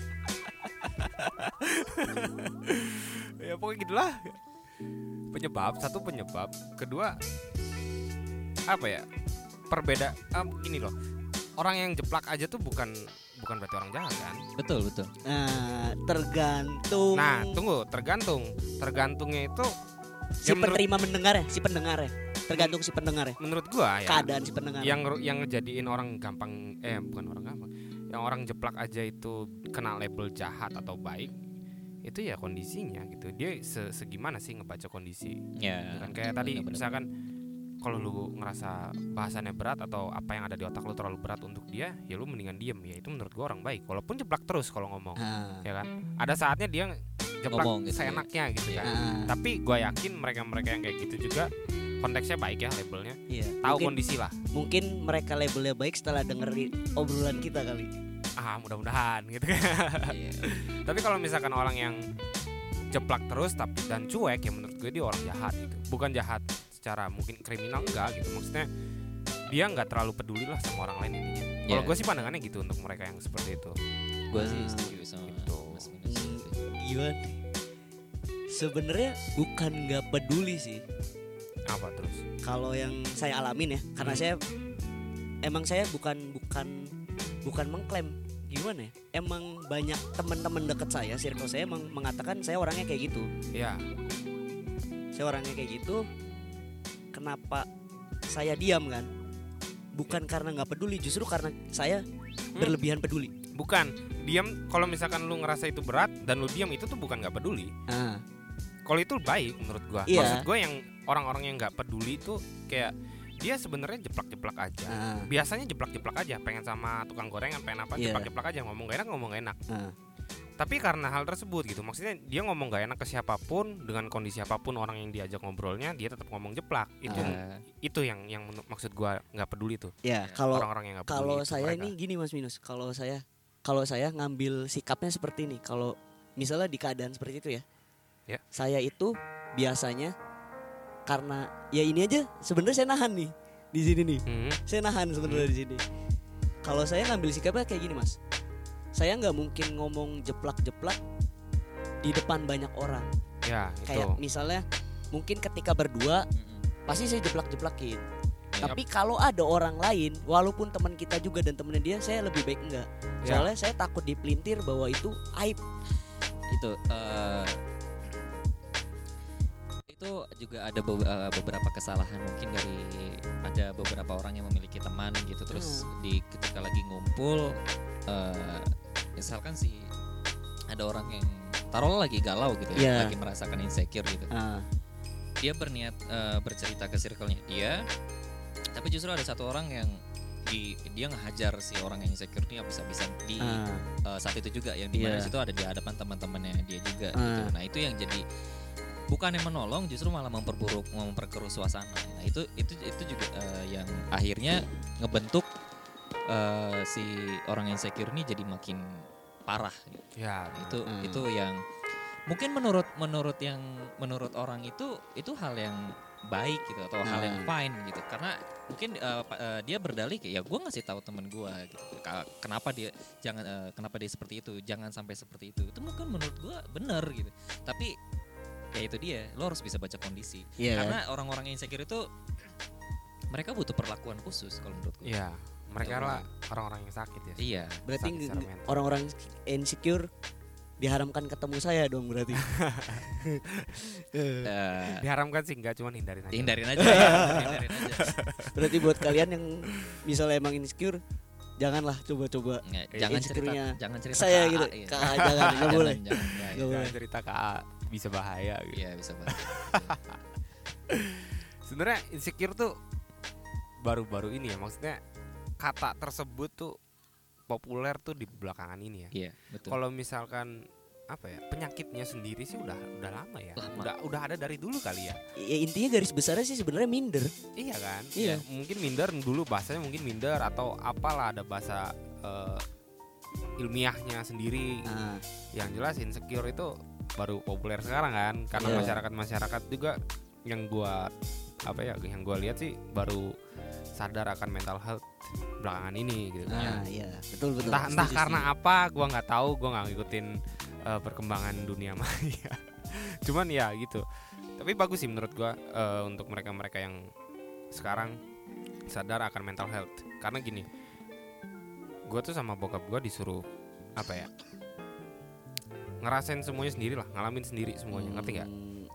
ya pokoknya gitulah. Penyebab satu penyebab, kedua apa ya? Perbeda ah, gini loh. Orang yang jeplak aja tuh bukan bukan berarti orang jahat kan? betul betul Nah, tergantung Nah, tunggu, tergantung. Tergantungnya itu si ya menurut- penerima mendengar ya si pendengar ya tergantung si pendengar ya menurut gua ya. keadaan si pendengar yang ngeru- yang ngejadiin orang gampang eh bukan orang gampang yang orang jeplak aja itu kena label jahat atau baik itu ya kondisinya gitu dia se- segimana sih ngebaca kondisi ya kan kayak tadi benar-benar. misalkan kalau lu ngerasa bahasannya berat atau apa yang ada di otak lu terlalu berat untuk dia ya lu mendingan diem ya itu menurut gua orang baik walaupun jeplak terus kalau ngomong Ah, ya kan ada saatnya dia jeplak Ngomong gitu ya. seenaknya gitu kan ah, tapi gua yakin mereka-mereka yang kayak gitu juga konteksnya baik ya labelnya iya. tahu mungkin, kondisi lah mungkin mereka labelnya baik setelah dengerin obrolan kita kali ah mudah-mudahan gitu kan Iya. tapi kalau misalkan orang yang jeplak terus tapi dan cuek ya menurut gue dia orang jahat gitu bukan jahat secara mungkin kriminal enggak gitu maksudnya dia nggak terlalu peduli lah sama orang lain intinya kalau Ya. gue sih pandangannya gitu untuk mereka yang seperti itu gue sih setuju sama Gitu. Mas Minus Hmm. gimana sebenarnya bukan nggak peduli sih apa terus kalau yang saya alamin ya karena saya emang saya bukan bukan bukan mengklaim gimana ya emang banyak teman-teman dekat saya circle saya emang mengatakan saya orangnya kayak gitu ya saya orangnya kayak gitu kenapa saya diam kan bukan karena nggak peduli justru karena saya berlebihan peduli bukan diam kalau misalkan lu ngerasa itu berat dan lu diam itu tuh bukan nggak peduli ah kalau itu baik menurut gua Iya. maksud gue yang orang-orang yang nggak peduli itu kayak dia sebenarnya jeplak-jeplak aja ah biasanya jeplak-jeplak aja pengen sama tukang gorengan pengen apa Iya. jeplak-jeplak aja ngomong gak enak ngomong gak enak Ah. tapi karena hal tersebut gitu maksudnya dia ngomong gak enak ke siapapun dengan kondisi apapun orang yang diajak ngobrolnya dia tetap ngomong jeplak itu Ah, itu yang yang menurut- maksud gua nggak peduli tuh Ya, kalau orang-orang yang nggak peduli kalau itu saya mereka. ini gini Mas Minus, kalau saya kalau saya ngambil sikapnya seperti ini, kalau misalnya di keadaan seperti itu ya. Ya. Saya itu biasanya karena ya ini aja sebenarnya saya nahan nih di sini nih. Hmm, Saya nahan sebenarnya di sini. Kalau saya ngambil sikapnya kayak gini, Mas. Saya nggak mungkin ngomong jeplak-jeplak di depan banyak orang. ya itu Kayak misalnya mungkin ketika berdua pasti saya jeplak-jeplakin. Tapi kalau ada orang lain, walaupun teman kita juga dan temennya dia, saya lebih baik enggak. Ya. Soalnya saya takut dipelintir bahwa itu aib. itu eh, itu juga ada be- eh, beberapa kesalahan mungkin dari ada beberapa orang yang memiliki teman gitu terus Hmm. di ketika lagi ngumpul eh, misalkan si ada orang yang taruhlah lagi galau gitu ya Iya. lagi merasakan insecure gitu Ah, dia berniat eh, bercerita ke circle-nya dia tapi justru ada satu orang yang di, dia ngehajar si orang yang insecure ini habis-habisan di ah, eh, saat itu juga yang dimana Iya. situ ada di hadapan teman-temannya dia juga Ah. gitu. Nah itu yang jadi bukan yang menolong justru malah memperburuk memperkeruh suasana. Nah itu itu itu juga eh, yang akhirnya ngebentuk eh, si orang insecure ini jadi makin parah. gitu. ya Nah, itu Hmm. itu yang mungkin menurut menurut yang menurut orang itu itu hal yang baik gitu atau hal yang Hmm. fine gitu karena mungkin eh, pa- eh, dia berdalih kayak ya gue ngasih tahu temen gue gitu. Ka- kenapa dia jangan eh, kenapa dia seperti itu jangan sampai seperti itu itu mungkin menurut gue bener gitu tapi ya itu dia lo harus bisa baca kondisi Iya kan? karena orang-orang insecure itu mereka butuh perlakuan khusus kalau menurut Iya. gue ya mereka Betul. lah orang-orang yang sakit ya iya Berarti sakit secara mental. orang-orang insecure diharamkan ketemu saya dong berarti. Iya. Eh, diharamkan sih enggak cuman hindarin aja hindarin aja ya, hindarin aja berarti buat kalian yang misalnya emang insecure, janganlah coba-coba. Nggak, Eh, jangan cerita insecure-nya jangan cerita Saya ke gitu, AA, ya. Kak, jangan, nggak Jangan, boleh. jangan, ya, Nggak Jangan boleh. cerita ke A, bisa bahaya gitu Iya bisa banget. sebenarnya insecure tuh baru-baru ini ya maksudnya kata tersebut tuh populer tuh di belakangan ini ya Iya betul. kalau misalkan apa ya penyakitnya sendiri sih udah udah lama ya Lama. udah udah ada dari dulu kali ya Ya, intinya garis besarnya sih sebenarnya minder. iya kan Iya. Ya, mungkin minder dulu bahasanya mungkin minder atau apalah ada bahasa eh, ilmiahnya sendiri Ah, yang jelas insecure itu baru populer sekarang kan karena Iya. masyarakat masyarakat juga yang gua apa ya yang gua lihat sih baru sadar akan mental health belakangan ini gitu ah, iya, betul betul. entah entah Setuju, karena apa gua nggak tahu gua nggak ngikutin eh, perkembangan dunia maya cuman ya gitu tapi bagus sih menurut gua eh, untuk mereka-mereka yang sekarang sadar akan mental health karena gini gua tuh sama bokap gua disuruh apa ya ngerasain semuanya sendiri lah ngalamin sendiri setuju. semuanya ngerti nggak Hmm,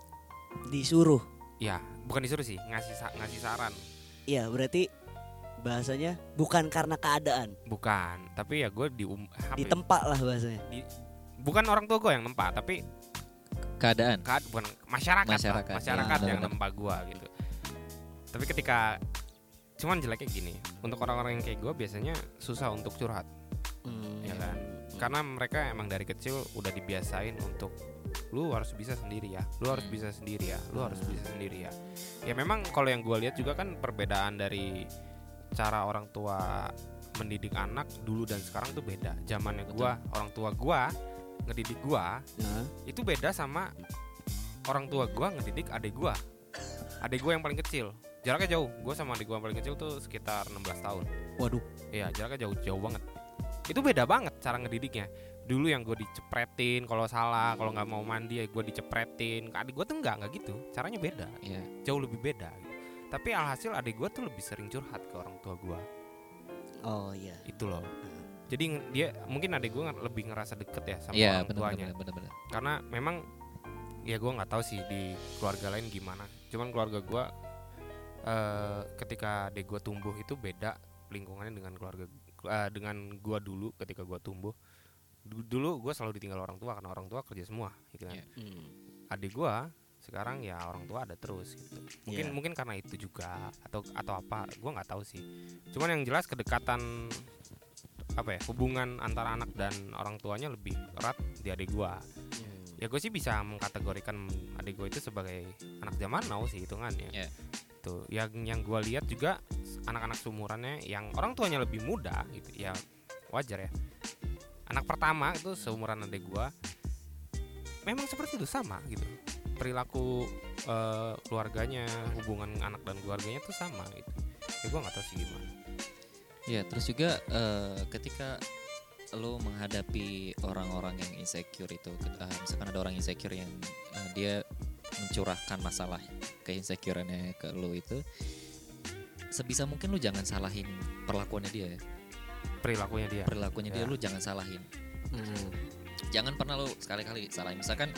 Disuruh. ya bukan disuruh sih ngasih sa- ngasih saran Iya, berarti bahasanya bukan karena keadaan, bukan tapi ya gue di um- apa ya, ditempa lah bahasanya. bukan orang tua gue yang nempa tapi Keadaan. Kad, bukan masyarakat lah, masyarakat, Masyarakat, ya, yang benar-benar. nempa gua gitu tapi ketika cuman jeleknya gini untuk orang-orang yang kayak gua biasanya susah untuk curhat Hmm. ya kan karena mereka emang dari kecil udah dibiasain untuk lu harus bisa sendiri ya lu harus Hmm. bisa sendiri ya lu harus Hmm. bisa sendiri ya ya memang kalau yang gua lihat juga kan perbedaan dari cara orang tua mendidik anak dulu dan sekarang tuh beda zamannya Betul. gua orang tua gua ngedidik gua Nah, itu beda sama orang tua gua ngedidik adik gua adik gua yang paling kecil jaraknya jauh gua sama adik gua yang paling kecil tuh sekitar 16 tahun waduh. iya jaraknya jauh jauh banget itu beda banget cara ngedidiknya dulu yang gue dicepretin kalau salah kalau nggak mau mandi ya gue dicepretin Ke adik gua tuh nggak nggak gitu caranya beda Iya. jauh lebih beda gitu. tapi alhasil adik gua tuh lebih sering curhat ke orang tua gua Oh iya. itu loh jadi nge- dia mungkin adik gua nge- lebih ngerasa deket ya sama Iya orang tuanya benar benar benar. karena memang ya gue nggak tahu sih di keluarga lain gimana cuman keluarga gue eh ketika adek gue tumbuh itu beda lingkungannya dengan keluarga eh, dengan gue dulu ketika gue tumbuh Du- dulu gue selalu ditinggal orang tua karena orang tua kerja semua gitu kan Iya. Hmm. adik gue sekarang ya orang tua ada terus gitu mungkin Iya. mungkin karena itu juga atau atau apa gue nggak tahu sih cuman yang jelas kedekatan apa ya hubungan antara anak dan orang tuanya lebih erat di adik gua ya gue sih bisa mengkategorikan adik gue itu sebagai anak zaman now sih hitungannya Iya. tuh yang yang gue lihat juga s- anak-anak seumurannya yang orang tuanya lebih muda gitu ya wajar ya anak pertama itu seumuran adik gue memang seperti itu sama gitu perilaku eh, keluarganya hubungan anak dan keluarganya tuh sama gitu ya gue nggak tahu sih gimana Ya, terus juga eh, ketika lo menghadapi orang-orang yang insecure itu, ke- eh, misalkan ada orang insecure yang eh, dia mencurahkan masalah keinsecurannya ke lo itu, sebisa mungkin lo jangan salahin perlakuannya dia, ya. perilakunya dia perilakunya dia Iya. Ya. lo jangan salahin, Hmm. jangan pernah lo sekali-kali salahin. Misalkan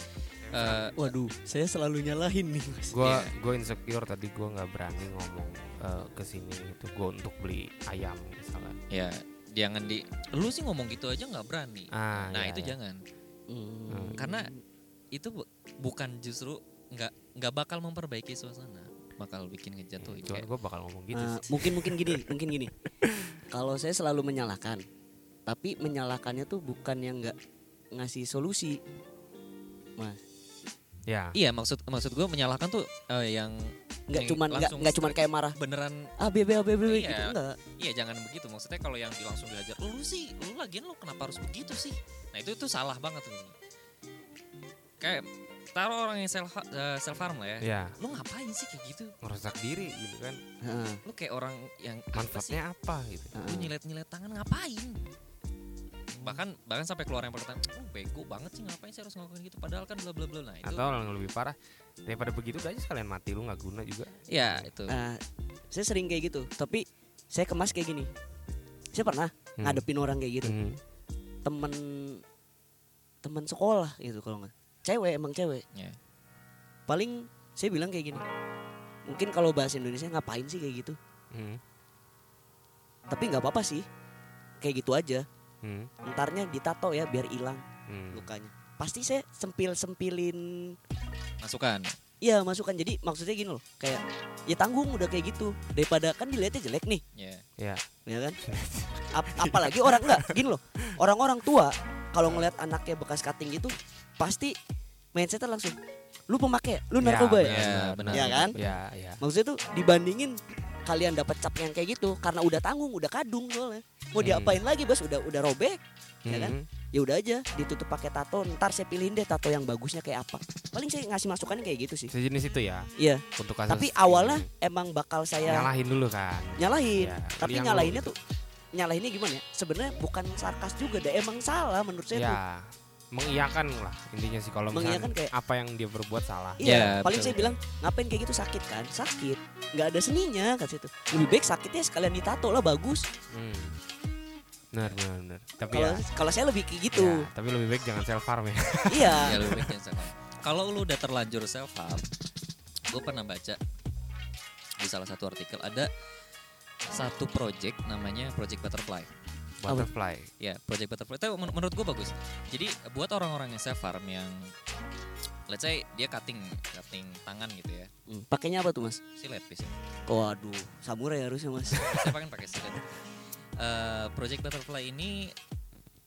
eh, Iya, Waduh, saya selalu nyalahin nih mas. gue gue insecure tadi gue nggak berani ngomong eh, ke sini itu gue untuk beli ayam misalnya ya jangan di, lo sih ngomong gitu aja nggak berani. ah Nah iya, itu iya. jangan. Hmm. Karena- itu bu- bukan justru nggak nggak bakal memperbaiki suasana bakal bikin ngejatuhin kayak cuman gue bakal ngomong gitu Eh, sih mungkin mungkin gini, mungkin gini. Kalau saya selalu menyalahkan, tapi menyalahkannya tuh bukan yang nggak ngasih solusi. ya iya maksud maksud gue menyalahkan tuh eh, yang Nggak Yang cuman nggak langsung nggak cuman kayak marah. beneran Ah bebe ah, bebe bebe," Iya. gitu enggak. iya jangan begitu maksudnya kalau yang di- langsung diajar lu sih lu lagian lu kenapa harus begitu sih nah itu itu salah banget tuh kayak taruh orang yang self self harm iya. lah ya ya lu ngapain sih kayak gitu ngerusak diri gitu kan Heeh. lu kayak orang yang apa sih manfaatnya apa gitu lu nyilet nyilet tangan ngapain bahkan bahkan sampai keluar yang pertama lu bego banget sih ngapain sih harus ngelakuin gitu padahal kan bla bla bla nah itu atau yang lebih parah daripada begitu udah aja sekalian mati lu nggak guna juga ya itu Nah, saya sering kayak gitu, tapi saya kemas kayak gini. Saya pernah Hmm. ngadepin orang kayak gitu. Hmm. Temen temen sekolah gitu kalau nggak. Cewek emang cewek. Ya. Paling saya bilang kayak gini. Mungkin kalau bahasa Indonesia ngapain sih kayak gitu? Hmm. Tapi nggak apa-apa sih. Kayak gitu aja. Hmm. Entarnya ditato ya biar hilang Hmm. lukanya. Pasti saya sempil-sempilin masukan Iya masukan jadi maksudnya gini loh kayak ya tanggung udah kayak gitu daripada kan dilihatnya jelek nih ya ya ya kan Ap- apalagi orang enggak gini loh orang-orang tua kalau ngelihat anaknya bekas cutting gitu pasti mindsetnya langsung lu pemakai lu narkoba ya, benar. benar. Ya kan? ya ya maksudnya tuh dibandingin kalian dapat cap yang kayak gitu karena udah tanggung udah kadung soalnya mau Hmm. diapain lagi bos udah udah robek Ya kan? Hmm. ya udah aja ditutup pakai tato ntar saya pilihin deh tato yang bagusnya kayak apa paling saya ngasih masukannya kayak gitu sih sejenis itu ya iya untuk kasus tapi awalnya ini. emang bakal saya nyalahin dulu kan nyalahin Ya, tapi liang lu nyalahinnya gitu. tuh nyalahinnya gimana ya sebenarnya bukan sarkas juga deh emang salah menurut saya tuh. ya mengiyakan lah intinya sih kalau misalnya Mengiyakan kayak- apa yang dia berbuat salah iya Ya, paling betul. saya bilang ngapain kayak gitu sakit kan sakit nggak ada seninya kan itu lebih baik sakitnya sekalian ditato lah bagus Hmm. Benar, benar, benar. Tapi kalau ya, kalau saya lebih kayak ya, gitu tapi lebih baik jangan self harm ya. ya iya lu bikin self harm. kalau lu udah terlanjur self harm gue pernah baca di salah satu artikel ada satu project namanya project butterfly Butterfly. ya project butterfly itu men- menurut gue bagus jadi buat orang-orang yang self harm yang let's say dia cutting cutting tangan gitu ya Hmm, pakainya apa tuh mas silet biasanya waduh samurai harusnya mas saya pengen pakai silet. Eh, Project Butterfly ini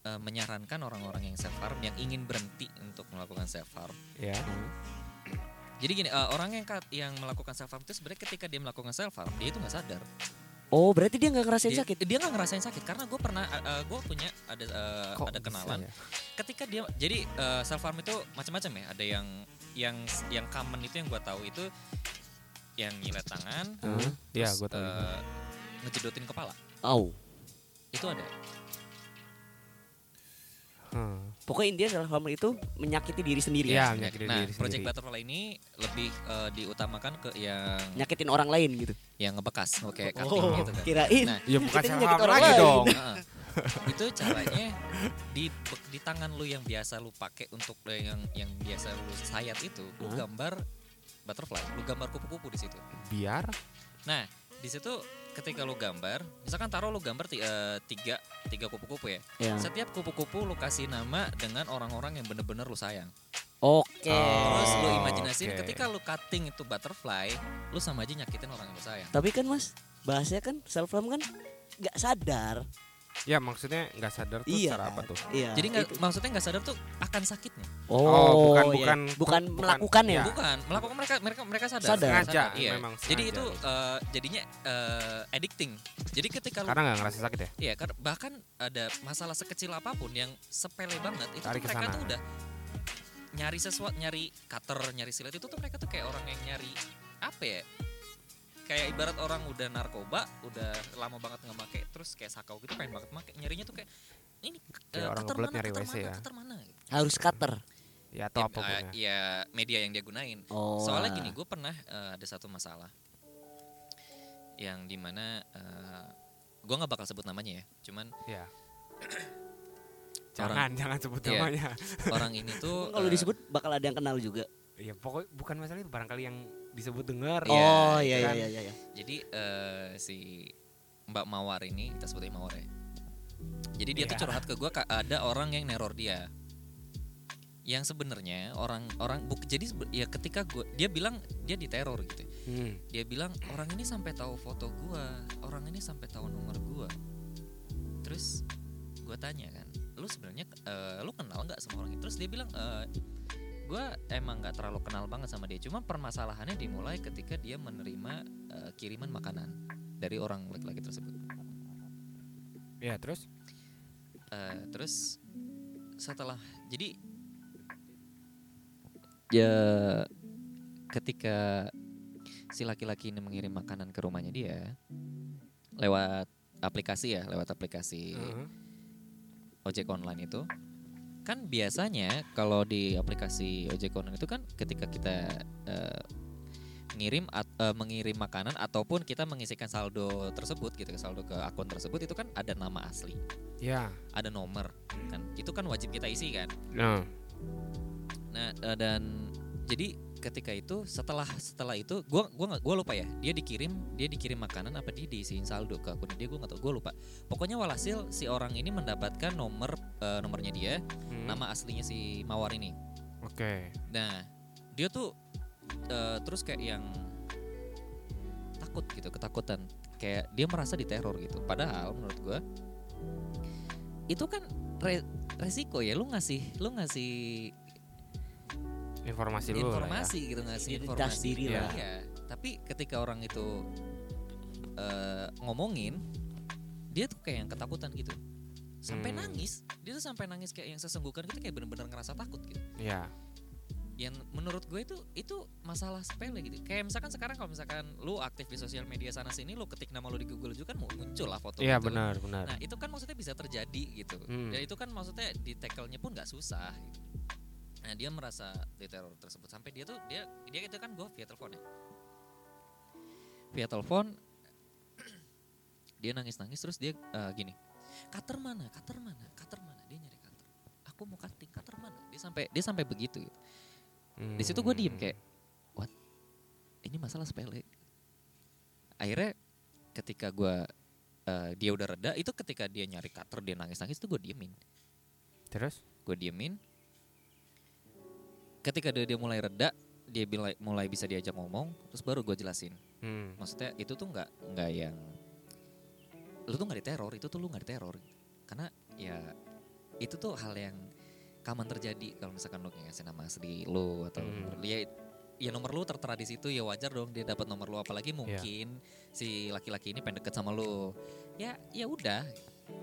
eh, menyarankan orang-orang yang self harm yang ingin berhenti untuk melakukan self harm. Ya. Jadi gini, eh, orang yang kat- yang melakukan self harm itu sebenarnya ketika dia melakukan self harm dia itu nggak sadar. oh berarti dia nggak ngerasain Dia- sakit Dia nggak ngerasain sakit karena gue pernah gue punya ada eh, Kok ada bisa kenalan. ya? Ketika dia jadi eh, self harm itu macam-macam ya. Ada yang yang yang common itu yang gue tahu itu yang nyilet tangan, Heeh. Iya, terus, gue tahu. itu. eh, ngejedotin kepala. Au. Itu ada. Hmm. pokoknya intinya self harm itu menyakiti diri sendiri Iya, ya menyakiti diri nah, sendiri. Project Butterfly ini lebih eh, diutamakan ke yang nyakitin orang lain gitu yang ngebekas, oke cutting oh gitu kan. kirain Nah, Ya bukan Kita self menyakiti harm orang lagi lain. dong. Heeh. itu caranya di di tangan lu yang biasa lu pakai untuk yang yang biasa lu sayat itu, lu Hah? gambar butterfly, lu gambar kupu-kupu di situ. Biar Nah, di situ ketika lu gambar, misalkan taruh lu gambar ti- eh, tiga tiga kupu-kupu ya. Ya. Setiap kupu-kupu lu kasih nama dengan orang-orang yang bener-bener lu sayang. Oke. Oh. Terus lu imajinasiin oke. ketika lu cutting itu butterfly, lu sama aja nyakitin orang yang lu sayang. Tapi kan Mas, bahasanya kan self harm kan nggak sadar. Ya maksudnya nggak sadar tuh iya. cara apa kan? tuh? Iya. Jadi nggak itu. maksudnya nggak sadar tuh akan sakitnya. Oh, bukan- iya. bukan- bukan bukan- melakukan ya. iya. Bukan, melakukan mereka mereka mereka sadar. Sadar. Sengaja, iya. memang Jadi sengaja itu gitu. eh, jadinya eh, addicting. Jadi ketika lu Karena nggak ngerasa sakit ya? Iya, karena bahkan ada masalah sekecil apapun yang sepele banget itu tuh Tarik ke mereka sana. tuh udah nyari sesuatu, nyari cutter, nyari silet itu tuh mereka tuh kayak orang yang nyari apa ya? Kayak ibarat orang udah narkoba, udah lama banget nggak make, terus kayak sakau gitu pengen banget make, nyarinya tuh kayak ini Kayak eh, orang cutter ngebelet mana, nyari cutter WC mana, ya. cutter mana. Harus cutter. Ya atau Ya, apa eh, punya. ya media yang dia gunain. Oh. nah. Soalnya gini, gue pernah eh, ada satu masalah yang dimana eh, gue nggak bakal sebut namanya ya, cuman Ya. Jangan, jangan sebut Iya. namanya. orang ini tuh Kalau eh, disebut bakal ada yang kenal juga. Ya pokoknya bukan masalah itu barangkali yang disebut dengar. Iya, oh itu iya iya kan. iya iya. jadi eh, si Mbak Mawar ini kita sebutnya Mawar ya. Jadi dia tuh Iya. curhat ke gue ada orang yang neror dia. Yang sebenarnya orang-orang buk jadi sebe- ya ketika gue dia bilang dia diteror gitu. Hmm. Dia bilang orang ini sampai tahu foto gue, orang ini sampai tahu nomor gue. Terus gue tanya kan, lu sebenarnya eh, lu kenal nggak sama orang itu? Terus dia bilang gue emang nggak terlalu kenal banget sama dia. Cuma permasalahannya dimulai ketika dia menerima eh, kiriman makanan dari orang laki-laki tersebut. Ya terus? Eh, terus setelah jadi ya ketika si laki-laki ini mengirim makanan ke rumahnya dia lewat aplikasi ya, lewat aplikasi Heeh. ojek online itu kan biasanya kalau di aplikasi ojek online itu kan ketika kita eh, ngirim at- eh, mengirim makanan ataupun kita mengisikan saldo tersebut gitu saldo ke akun tersebut itu kan ada nama asli Ya. ada nomor kan itu kan wajib kita isi kan Nah, nah eh, dan jadi ketika itu setelah setelah itu gua gua nggak- gua lupa ya dia dikirim dia dikirim makanan apa dia diisiin saldo ke akun dia gua nggak tahu gua lupa pokoknya walhasil si orang ini mendapatkan nomor eh, nomornya dia hmm, nama aslinya si mawar ini Oke. nah dia tuh eh, terus kayak yang takut gitu ketakutan kayak dia merasa diteror gitu padahal menurut gua itu kan re- resiko ya lu ngasih lu ngasih Informasi lu. lah ya. informasi gitu ngasih Identitas informasi diri Iya. lah. Iya. tapi ketika orang itu eh, ngomongin dia tuh kayak yang ketakutan gitu sampai Hmm. nangis dia tuh sampai nangis kayak yang sesenggukan gitu kayak bener-bener ngerasa takut gitu Iya. yang menurut gue itu itu masalah sepele gitu kayak misalkan sekarang kalau misalkan lu aktif di sosial media sana sini lu ketik nama lu di Google juga kan mu- muncul lah foto Iya gitu. benar benar. nah itu kan maksudnya bisa terjadi gitu Hmm. dan itu kan maksudnya di tackle-nya pun nggak susah gitu. nah dia merasa diteror tersebut sampai dia tuh dia dia itu kan gue via telepon ya via telepon dia nangis nangis terus dia eh, gini cutter mana cutter mana cutter mana dia nyari cutter aku mau cutting cutter mana dia sampai dia sampai begitu gitu. Hmm. Di situ gue diem kayak, what? Ini masalah sepele. Akhirnya ketika gue dia udah reda, itu ketika dia nyari cutter dia nangis nangis tuh gue diemin, Terus? gue diemin. Ketika dia, dia mulai reda, dia bila- mulai bisa diajak ngomong, terus baru gue jelasin. Hmm. Maksudnya itu tuh nggak nggak yang lu tuh nggak diteror, itu tuh lu nggak diteror. Karena ya itu tuh hal yang kaman terjadi kalau misalkan lu ngasih nama asli lu atau Hmm. nomor lu. ya ya nomor lu tertera di situ ya wajar dong dia dapat nomor lu apalagi Iya. mungkin si laki-laki ini pengen deket sama lu. Ya ya udah.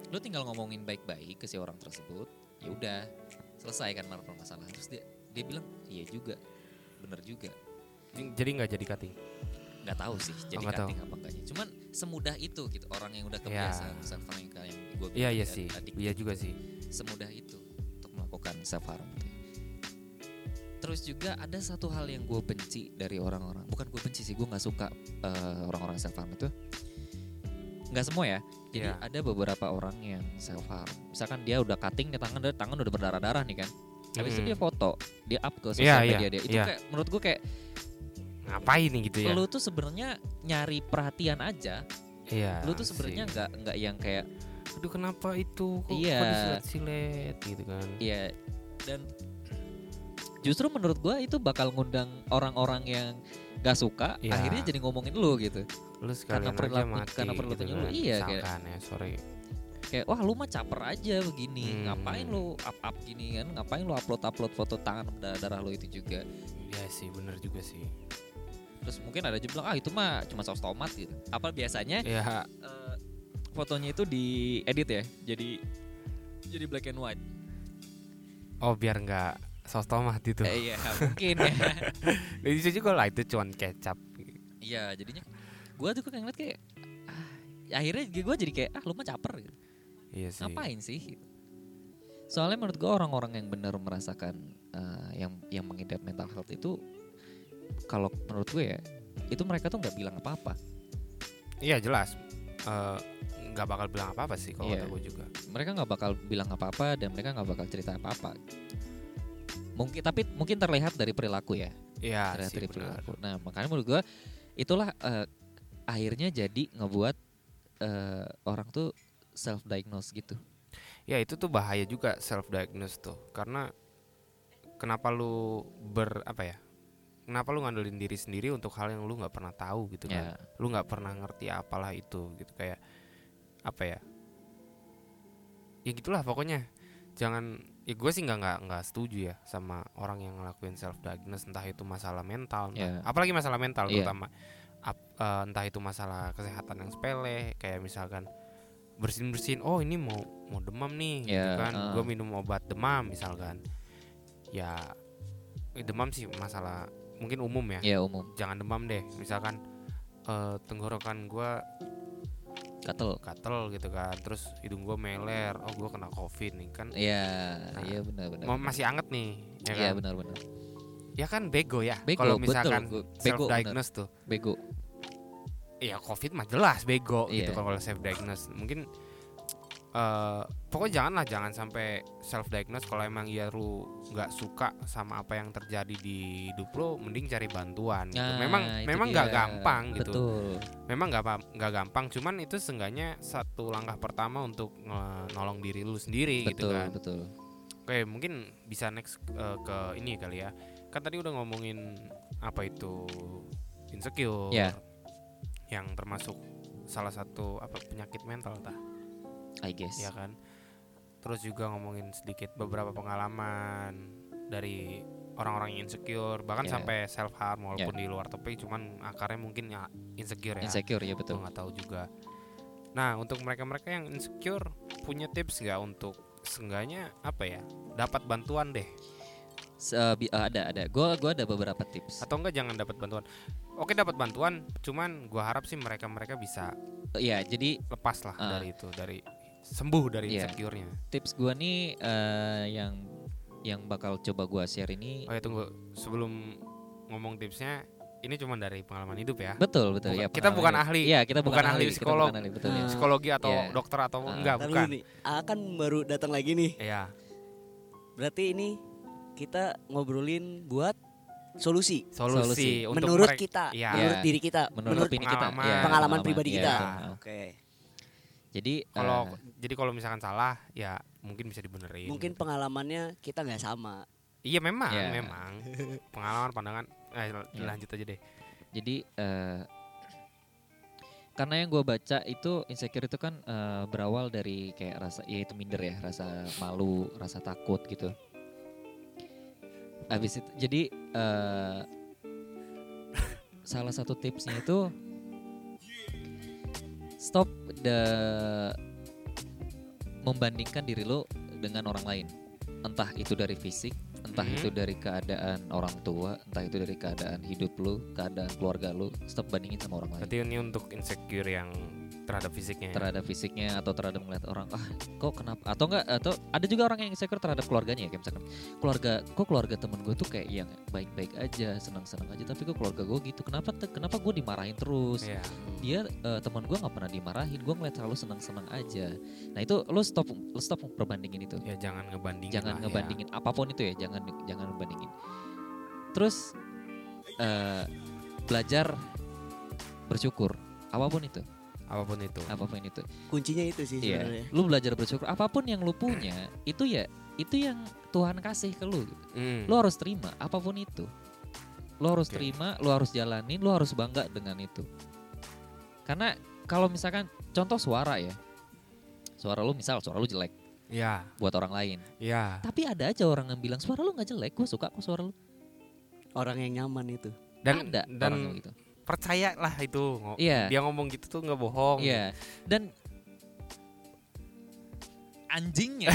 Lu tinggal ngomongin baik-baik ke si orang tersebut. Ya udah. Selesai kan mar- permasalahan. Terus dia dia bilang, "Iya juga. Bener juga." Jadi nggak jadi cutting. nggak tahu sih jadi nggak tahu. cutting apa enggaknya cuman semudah itu gitu orang yang udah Ya. kebiasaan pesan farmika yang gue Iya iya sih. Iya juga sih. gitu semudah itu untuk melakukan self harm terus juga ada satu hal yang gue benci dari orang-orang bukan gue benci sih gue nggak suka eh, orang-orang self harm itu nggak semua ya jadi Iya. ada beberapa orang yang self harm misalkan dia udah cutting nih tangan tangan udah berdarah-darah nih kan habis itu Mm. dia foto dia up ke Iya, sosial iya, media dia itu iya. kayak menurut gue kayak Ngapain nih gitu ya? lu tuh sebenarnya nyari perhatian aja Iya. lu tuh sebenarnya sih. nggak nggak yang kayak Aduh kenapa itu? Kok, Iya. kok disilet-silet gitu kan? ya dan justru menurut gua itu bakal ngundang orang-orang yang gak suka Iya. akhirnya jadi ngomongin lu gitu Lu sekalian aja perilaku- mati. gitu karena perilakunya lu, iya, kayak- Misalkan ya sorry. kayak wah lu mah caper aja begini Hmm. ngapain lu up up gini kan ngapain lu upload upload foto tangan darah, darah lu itu juga Iya sih bener juga sih Eh. terus mungkin ada juga bilang ah itu mah cuma saus tomat gitu apa biasanya Iya eh, fotonya itu di edit ya jadi jadi black and white Oh biar nggak saus tomat itu Eh, iya mungkin ya Jadi Bisa juga lah itu cuman kecap iya jadinya gue tuh kayak ngeliat kayak ah, ya akhirnya gue jadi kayak ah lu mah caper gitu Iya sih ngapain sih gitu. soalnya menurut gue orang-orang yang benar merasakan eh, yang yang mengidap mental health itu kalau menurut gue ya itu mereka tuh nggak bilang apa-apa Iya jelas Eh, nggak bakal bilang apa-apa sih kalau Iya. kata gue juga mereka nggak bakal bilang apa-apa dan mereka nggak bakal cerita apa-apa mungkin tapi mungkin terlihat dari perilaku ya Iya terlihat sih dari benar perilaku nah makanya menurut gue itulah eh, akhirnya jadi ngebuat eh, orang tuh self diagnose gitu Ya itu tuh bahaya juga self diagnose tuh karena kenapa lu ber apa ya? Kenapa lu ngandelin diri sendiri untuk hal yang lu nggak pernah tahu gitu ya kan? Lu nggak pernah ngerti apalah itu gitu kayak apa ya? Ya gitulah pokoknya. Jangan ya gue sih nggak nggak nggak setuju ya sama orang yang ngelakuin self diagnose entah itu masalah mental, Ya. entah- apalagi masalah mental Iya. terutama Ap- eh, entah itu masalah kesehatan yang sepele kayak misalkan bersin bersin oh ini mau mau demam nih gitu Ya, kan ah. gue minum obat demam misalkan ya eh, demam sih masalah mungkin umum ya ya umum jangan demam deh misalkan eh, tenggorokan gue gatel gatel gitu kan terus hidung gue meler oh gue kena covid nih kan ya Nah, iya benar-benar mau- masih anget nih ya Iya kan benar-benar. ya kan bego ya Bego, kalau betul, misalkan gitu. gua- bego, self diagnose tuh Bego. Iya covid mah jelas bego gitu Iya. kan kalau self diagnose mungkin eh pokoknya janganlah jangan sampai self diagnose kalau emang ya lu nggak suka sama apa yang terjadi di hidup lu mending cari bantuan gitu. Nah, memang itu memang nggak dia. gampang gitu Betul. memang nggak pam- nggak gampang cuman itu seenggaknya satu langkah pertama untuk nge- nolong diri lu sendiri gitu betul, kan betul. Oke, mungkin bisa next eh, ke ini kali ya. Kan tadi udah ngomongin apa itu insecure. Ya. Yang termasuk salah satu apa penyakit mental tah, I guess. ya kan? Terus juga ngomongin sedikit beberapa pengalaman dari orang-orang yang insecure, bahkan Ya. sampai self harm walaupun di luar topik cuman akarnya mungkin ya insecure ya. Insecure ya betul. Gue nggak tahu juga. Nah, untuk mereka-mereka yang insecure punya tips nggak untuk seenggaknya apa ya? Dapat bantuan deh Se- eh, bi- eh, ada ada. Gua gua ada beberapa tips. atau enggak jangan dapat bantuan. Oke, dapat bantuan, cuman gua harap sih mereka-mereka bisa Iya, jadi lepas lah Ah. dari itu, dari sembuh dari Iya. insecure-nya. tips gua nih eh, yang yang bakal coba gua share ini Oh ya tunggu, sebelum ngomong tipsnya, ini cuma dari pengalaman hidup ya. betul betul ya. Bukan- kita pengalaman bukan hidup. ahli, Iya, kita bukan, bukan ahli kita psikolog. bukan ahli, betul ya. Ah. Psikologi atau Iya. dokter atau Ah. enggak Ntar dulu bukan. nih, Aa kan baru datang lagi nih. Iya, Berarti ini kita ngobrolin buat solusi. solusi, Solusi. untuk menurut mereka- kita, Iya. Iya. menurut diri kita, Menurut menurut, opini kita, pengalaman. ya, pengalaman pribadi iya, kita. betul. Oke. Jadi Kalau eh, jadi kalau misalkan salah, ya mungkin bisa dibenerin. Mungkin pengalamannya kita nggak sama. Iya memang, Ya. memang pengalaman pandangan. Eh, Ya. lanjut aja deh. Jadi eh, karena yang gue baca itu insecure itu kan eh, berawal dari kayak rasa ya itu minder ya rasa malu rasa takut gitu. Abis itu jadi eh, salah satu tipsnya itu stop the membandingkan diri lo dengan orang lain entah itu dari fisik entah Mhm. itu dari keadaan orang tua entah itu dari keadaan hidup lo keadaan keluarga lo stop bandingin sama orang lain Berarti ini untuk insecure yang terhadap fisiknya. ya? terhadap fisiknya atau terhadap melihat orang ah kok kenapa atau enggak atau ada juga orang yang insecure terhadap keluarganya ya kayak misalkan keluarga kok keluarga temen gue tuh kayak yang baik-baik aja senang-senang aja tapi kok keluarga gue gitu kenapa te- kenapa gue dimarahin terus Iya. dia eh, teman gue nggak pernah dimarahin gue ngeliat selalu senang-senang aja nah itu lo stop lo stop perbandingin itu Ya jangan ngebandingin. jangan lah, ya. ngebandingin apapun itu ya jangan jangan ngebandingin terus eh, belajar bersyukur apapun itu Apapun itu. apapun itu Kuncinya itu sih Iya. sebenarnya. Lu belajar bersyukur apapun yang lu punya, itu ya itu yang Tuhan kasih ke lu. gitu. Mm. Lu harus terima apapun itu. Lu harus Oke. terima, lu harus jalanin, lu harus bangga dengan itu. Karena kalau misalkan contoh suara ya. Suara lu misal suara lu jelek Ya, buat orang lain. ya. Tapi ada aja orang yang bilang suara lu nggak jelek, gue suka kok suara lu. orang yang nyaman itu Dan ada dan orang kayak gitu. percayalah itu. ngo- Iya. Dia ngomong gitu tuh nggak bohong. Iya. Dan anjingnya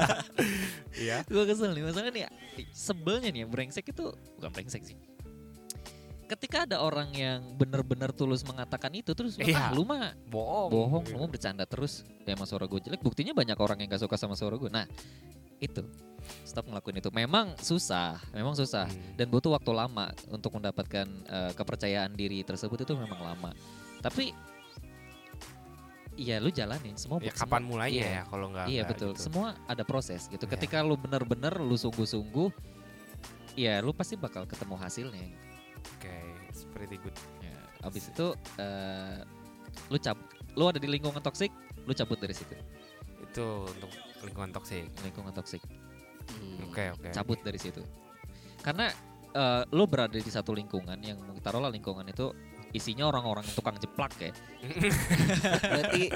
Iya. gue kesel nih masalah nih sebelnya nih ya, brengsek itu bukan brengsek sih ketika ada orang yang benar-benar tulus mengatakan itu terus lu, Iya. Oh, ah, lu mah Bohong. Iya. bohong lu mah bercanda terus ya emang suara gue jelek buktinya banyak orang yang gak suka sama suara gue nah itu stop ngelakuin itu memang susah memang susah Hmm. dan butuh waktu lama untuk mendapatkan eh, kepercayaan diri tersebut itu memang lama tapi ya lu jalanin semua Ya semua- kapan mulainya iya. ya kalau nggak Iya nggak betul. gitu. Semua ada proses gitu. Iya. Ketika lu bener-bener lu sungguh-sungguh, ya lu pasti bakal ketemu hasilnya. gitu. Oke, it's pretty good. Ya, abis itu eh, lu cabut, lu ada di lingkungan toksik, lu cabut dari situ. Itu untuk lingkungan toksik. Lingkungan toksik, Oke, Hmm. oke. cabut dari situ. Karena eh, lu berada di satu lingkungan yang taruhlah lingkungan itu isinya orang-orang yang tukang jeplak ya. berarti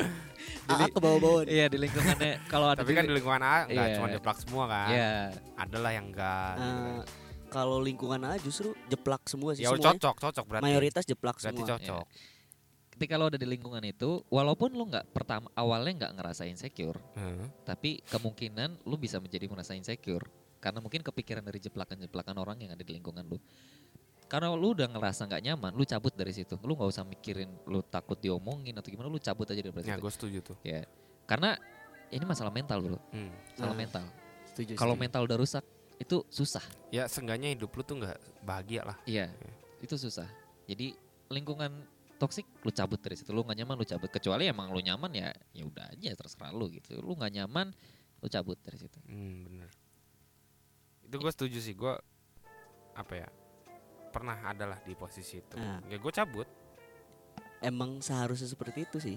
AA ke bawah-bawah nih. Iya di lingkungannya kalau ada Tapi kan di lingkungan A nggak Iya. cuma jeplak semua kan. Iya, Ah. Ada lah yang enggak. gitu kan. Eh, kalau lingkungan AA justru jeplak semua sih ya semuanya. cocok, cocok berarti. mayoritas jeplak berarti semua Iya. cocok. ketika lu ada di lingkungan itu, walaupun lu nggak pertama awalnya nggak ngerasa insecure, Heeh. tapi kemungkinan lu bisa menjadi merasa insecure karena mungkin kepikiran dari jeplakan-jeplakan orang yang ada di lingkungan lu. Karena lu udah ngerasa nggak nyaman, lu cabut dari situ. Lu nggak usah mikirin lu takut diomongin atau gimana, lu cabut aja dari Ya, situ. gue setuju tuh. Ya. Karena ini masalah mental, Bro. Hmm. Masalah Nah, mental. iya setuju Kalau setuju. mental udah rusak, itu susah. Ya, seenggaknya hidup lu tuh nggak bahagia lah. Iya. Itu susah. Jadi lingkungan toksik lu cabut dari situ. Lu nggak nyaman lu cabut. Kecuali emang lu nyaman ya ya udah aja terserah lu gitu. Lu nggak nyaman lu cabut dari situ. Hmm, bener. Itu gue setuju sih. Gue apa ya? Pernah adalah di posisi itu. Nah. Ya gue cabut. emang seharusnya seperti itu sih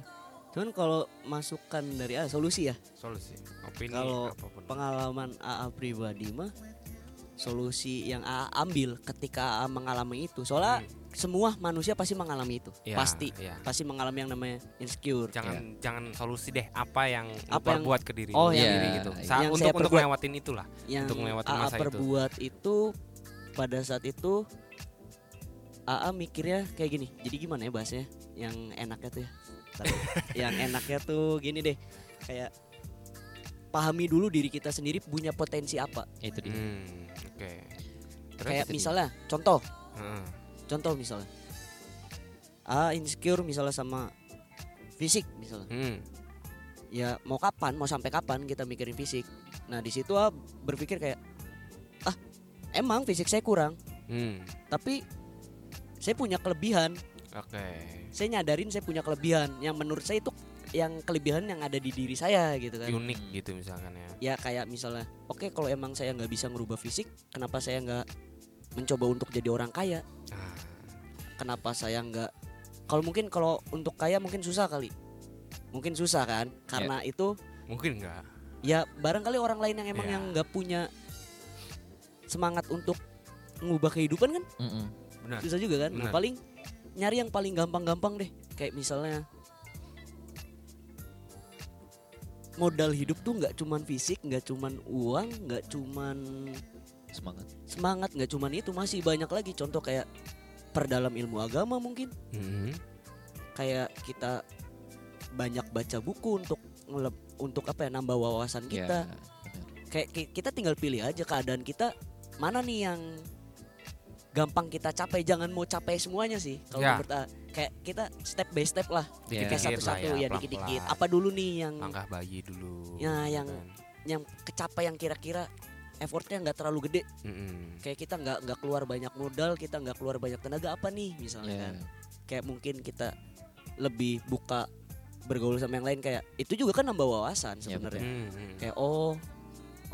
cuman kalau masukan dari AA solusi ya Solusi. Opini Kalau apapun. pengalaman AA pribadi mah solusi yang AA ambil ketika AA mengalami itu soalnya Hmm. semua manusia pasti mengalami itu Ya, pasti ya. pasti mengalami yang namanya insecure Jangan jangan solusi deh apa yang lu Apa yang- buat ke diri Oh, lu yang- sendiri gitu. Iya. Sa- Yang untuk saya untuk perbuat. lewatin itulah. yang Untuk melewati AA masa itu. perbuat itu. pada saat itu AA mikirnya kayak gini. Jadi gimana ya bahasanya? Yang enaknya tuh ya. Bentar. yang enaknya tuh gini deh. Kayak pahami dulu diri kita sendiri punya potensi apa. Ya, Itu dia. Hmm, oke. Terus Iya. kayak itu dia. misalnya contoh, Heeh. contoh misalnya. AA insecure misalnya sama fisik misalnya. Hmm. ya mau kapan mau sampai kapan kita mikirin fisik nah di situ ah berpikir kayak ah emang fisik saya kurang Hmm. tapi saya punya kelebihan Oke. saya nyadarin saya punya kelebihan yang menurut saya itu yang kelebihan yang ada di diri saya gitu kan Unik gitu misalkan ya. ya kayak misalnya oke kalau emang saya nggak bisa ngerubah fisik kenapa saya nggak mencoba untuk jadi orang kaya Ah, kenapa saya nggak kalau mungkin kalau untuk kaya mungkin susah kali mungkin susah kan Iya. karena itu mungkin enggak. ya barangkali orang lain yang emang Iya. yang nggak punya semangat untuk mengubah kehidupan kan Mm-mm. Benar. susah juga kan Ah, nah, Benar. paling nyari yang paling gampang-gampang deh kayak misalnya modal hidup tuh nggak cuman fisik nggak cuman uang nggak cuman Semangat. semangat nggak cuman itu masih banyak lagi contoh kayak perdalam ilmu agama mungkin Hmm. Mhm. kayak kita banyak baca buku untuk ngeleb- untuk apa ya nambah wawasan Ya, kita benar. kayak ki- kita tinggal pilih aja keadaan kita mana nih yang gampang kita capai jangan mau capai semuanya sih kalau Ya. menurut A. kayak kita step by step lah Ya, kayak Dikit-dikit lah satu-satu ya, ya pelan-pelan. dikit-dikit apa dulu nih yang Langkah bayi dulu. Ya, gitu yang- kan. yang kecapai yang kira-kira effortnya nggak terlalu gede Mhm. kayak kita nggak nggak keluar banyak modal kita nggak keluar banyak tenaga apa nih misalnya Ya, kan kayak mungkin kita lebih buka bergaul sama yang lain kayak itu juga kan nambah wawasan Ya, sebenarnya Mhm. kayak oh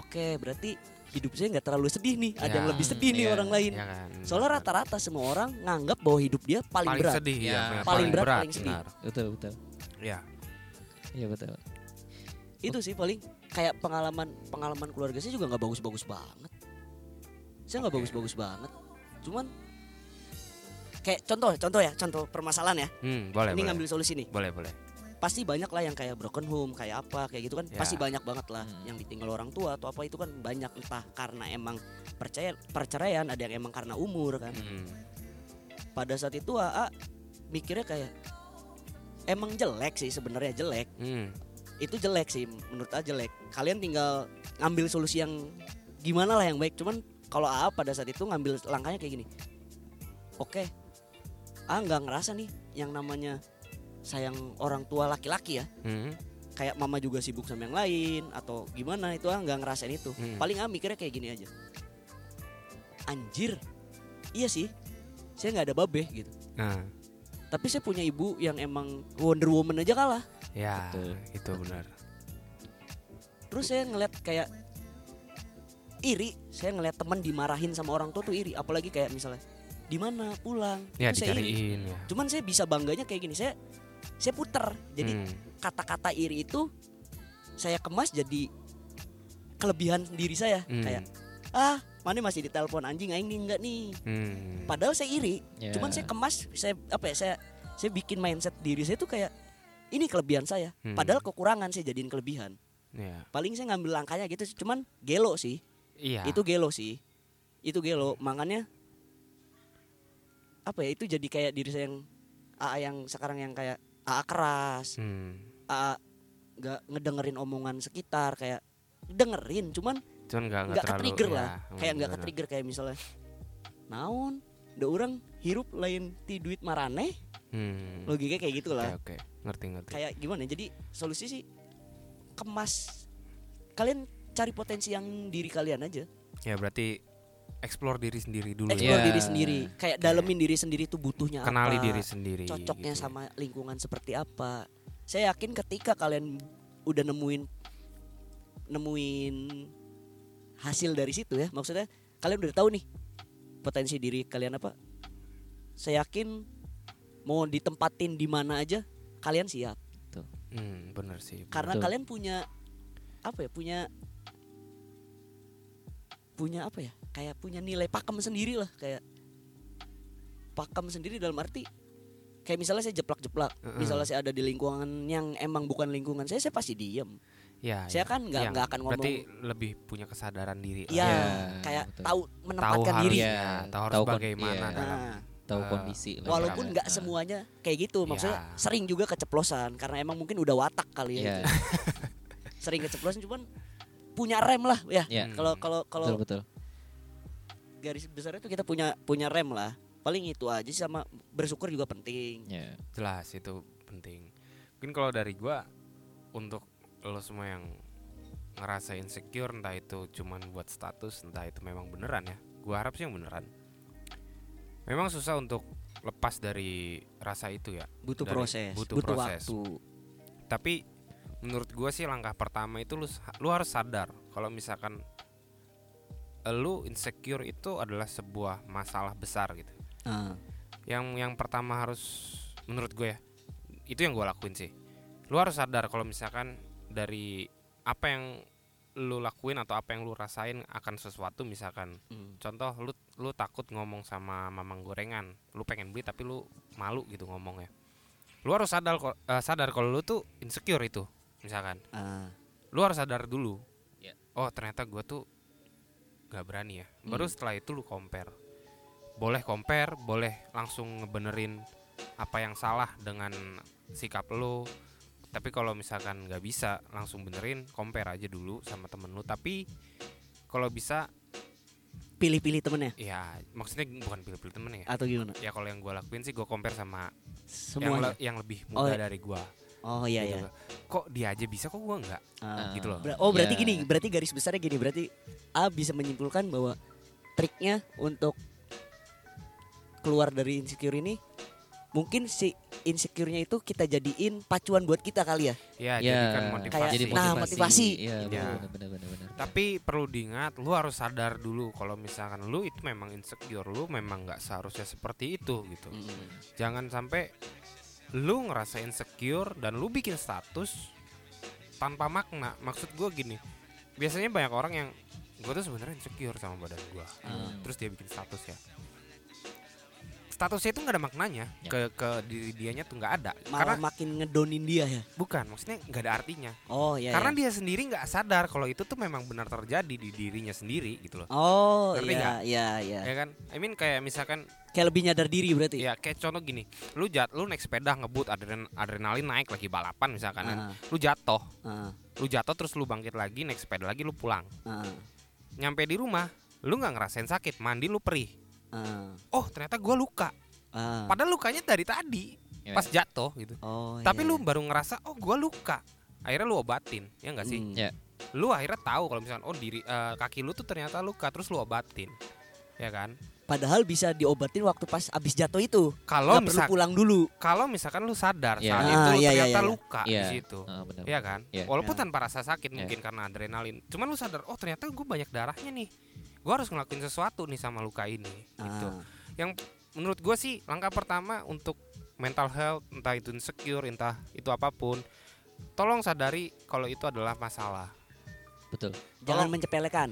oke berarti hidup saya nggak terlalu sedih nih ada Ya. yang lebih sedih nih Iya, orang lain Ya kan. soalnya rata-rata semua orang nganggap bahwa hidup dia paling, paling berat sedih ya, Ya, benar, paling berat, paling sedih. benar. betul betul. Ya. Iya betul. itu sih paling kayak pengalaman pengalaman keluarga saya juga nggak bagus-bagus banget saya nggak Oke. bagus-bagus banget cuman kayak contoh contoh ya contoh permasalahan ya Hmm, boleh, ini boleh. ngambil solusi nih Boleh, boleh. pasti banyak lah yang kayak broken home kayak apa kayak gitu kan Ya. pasti banyak banget lah Hmm. yang ditinggal orang tua atau apa itu kan banyak entah karena emang percaya perceraian ada yang emang karena umur kan Hmm. pada saat itu AA mikirnya kayak emang jelek sih sebenarnya jelek Hmm. itu jelek sih menurut A jelek kalian tinggal ngambil solusi yang gimana lah yang baik cuman kalau AA pada saat itu ngambil langkahnya kayak gini oke A nggak ngerasa nih yang namanya sayang orang tua laki-laki ya Hmm. kayak mama juga sibuk sama yang lain atau gimana itu ah nggak ngerasain itu Hmm. paling ah mikirnya kayak gini aja anjir iya sih saya nggak ada babe gitu Nah, tapi saya punya ibu yang emang Wonder Woman aja kalah ya Betul. itu benar. terus saya ngeliat kayak iri saya ngeliat teman dimarahin sama orang tua tuh iri apalagi kayak misalnya di mana pulang Ya Terus saya iri. dicariin ya. cuman saya bisa bangganya kayak gini saya saya puter jadi Hmm. kata-kata iri itu saya kemas jadi kelebihan diri saya Hmm. kayak ah mana masih ditelepon anjing aing nih enggak nih Hmm. padahal saya iri Ya. cuman saya kemas saya apa ya saya saya bikin mindset diri saya tuh kayak ini kelebihan saya Hmm. padahal kekurangan saya jadiin kelebihan Ya. paling saya ngambil langkahnya gitu sih. cuman gelo sih Iya. itu gelo sih itu gelo makanya apa ya itu jadi kayak diri saya yang AA yang sekarang yang kayak AA keras Hmm. AA nggak ngedengerin omongan sekitar kayak dengerin cuman Cuman nggak nggak nggak terlalu. ketrigger ya, lah kayak nggak benar. ketrigger kayak misalnya naon udah orang hirup lain ti duit marane Hmm. logika kayak Oke gitulah oke. Ngerti ngerti. kayak gimana jadi solusi sih kemas kalian cari potensi yang diri kalian aja Ya berarti explore diri sendiri dulu. ya. Explore. eksplor Iya. diri sendiri kayak dalemin diri sendiri tuh butuhnya Kenali apa diri sendiri. cocoknya gitu. sama lingkungan seperti apa saya yakin ketika kalian udah nemuin nemuin hasil dari situ ya maksudnya kalian udah tahu nih potensi diri kalian apa saya yakin mau ditempatin di mana aja kalian siap Hmm, bener sih. bener. karena Betul. kalian punya apa ya punya punya apa ya kayak punya nilai pakem sendiri lah kayak pakem sendiri dalam arti kayak misalnya saya jeplak-jeplak Heeh. misalnya saya ada di lingkungan yang emang bukan lingkungan saya saya pasti diem Ya, ya. saya kan nggak Ya, nggak akan ngomong Berarti lebih punya kesadaran diri. ya lah. Iya, kayak betul. tahu Tahu menempatkan harus, diri Iya, ya, tahu harus tahu kon- bagaimana iya. dalam. Nah, tahu Eh, kondisi lah. walaupun Nah. nggak semuanya kayak Iya. gitu maksudnya Ya. sering juga keceplosan karena emang mungkin udah watak kali ya Iya, sering keceplosan cuman punya rem lah ya iya, Hmm. kalau kalau kalau betul betul. garis besarnya tuh kita punya punya rem lah paling itu aja sih sama bersyukur juga penting Iya. Ya, jelas itu penting mungkin kalau dari gua untuk lo semua yang ngerasa insecure entah itu cuman buat status entah itu memang beneran ya gua harap sih yang beneran memang susah untuk lepas dari rasa itu ya butuh Dari- proses butuh butuh, proses. waktu tapi menurut gua sih langkah pertama itu lu sa- lu harus sadar kalau misalkan lu insecure itu adalah sebuah masalah besar gitu Ah, yang yang pertama harus menurut gue ya itu yang gue lakuin sih lu harus sadar kalau misalkan dari apa yang lu lakuin atau apa yang lu rasain akan sesuatu misalkan mm. contoh lu lu takut ngomong sama mamang gorengan lu pengen beli tapi lu malu gitu ngomongnya lu harus sadar ko- eh, sadar kalau lu tuh insecure itu misalkan Ah, lu harus sadar dulu Iya. oh ternyata gue tuh gak berani ya baru Hmm. setelah itu lu compare boleh compare boleh langsung ngebenerin apa yang salah dengan sikap lu tapi kalau misalkan nggak bisa langsung benerin compare aja dulu sama temen lu tapi kalau bisa pilih-pilih temennya ya maksudnya bukan pilih-pilih temen ya atau gimana ya kalau yang gue lakuin sih gue compare sama yang, semuanya le- yang lebih Oh, muda iya. dari gue oh iya Gitu. iya kok dia aja bisa kok gue nggak Ah. gitu loh Ber- oh berarti Iya. gini berarti garis besarnya gini berarti A bisa menyimpulkan bahwa triknya untuk keluar dari insecure ini mungkin si insecure-nya itu kita jadiin pacuan buat kita kali ya ya, Iya, jadikan motivasi jadi Nah, motivasi. Gitu. Iya, Iya. benar benar benar benar. Tapi perlu diingat, lu harus sadar dulu kalau misalkan lu itu memang insecure, lu memang nggak seharusnya seperti itu gitu. Jangan sampai lu ngerasa insecure dan lu bikin status tanpa makna. Maksud gua gini, biasanya banyak orang yang gue tuh sebenarnya insecure sama badan gua, Hmm. terus dia bikin status ya. statusnya itu nggak ada maknanya Ya. ke ke diri dianya tuh nggak ada karena malah makin ngedonin dia ya bukan maksudnya nggak ada artinya oh ya karena dia sendiri nggak sadar kalau itu tuh memang benar terjadi di dirinya sendiri gitu loh oh Ngerti nggak? iya iya iya ya kan I mean kayak misalkan kayak lebih nyadar diri berarti ya kayak contoh gini lu jat lu naik sepeda ngebut adren, adrenalin naik lagi balapan misalkan kan. Ah, lu jatuh ah, lu jatuh terus lu bangkit lagi naik sepeda lagi lu pulang ah, nyampe di rumah lu nggak ngerasain sakit mandi lu perih ah, oh ternyata gua luka ah. Iya. padahal lukanya dari tadi Ya. pas jatuh gitu oh tapi iya. lu baru ngerasa oh gua luka akhirnya lu obatin ya nggak sih Hmm. Ya. lu akhirnya tahu kalau misalkan oh diri eh, kaki lu tuh ternyata luka terus lu obatin ya kan padahal bisa diobatin waktu pas abis jatuh itu kalau nggak perlu misal pulang dulu kalau misalkan lu sadar Iya. saat Ah, itu lu iya, iya, ternyata iya. luka Iya. di situ Ah, benar. ya kan Iya. walaupun Gitu. Iya. tanpa rasa sakit mungkin karena adrenalin cuman lu sadar oh ternyata gue banyak darahnya nih gue harus ngelakuin sesuatu nih sama luka ini gitu Ah, menurut gue sih langkah pertama untuk mental health entah itu insecure entah itu apapun tolong sadari kalau itu adalah masalah Betul. jangan Tolong- mencepelekan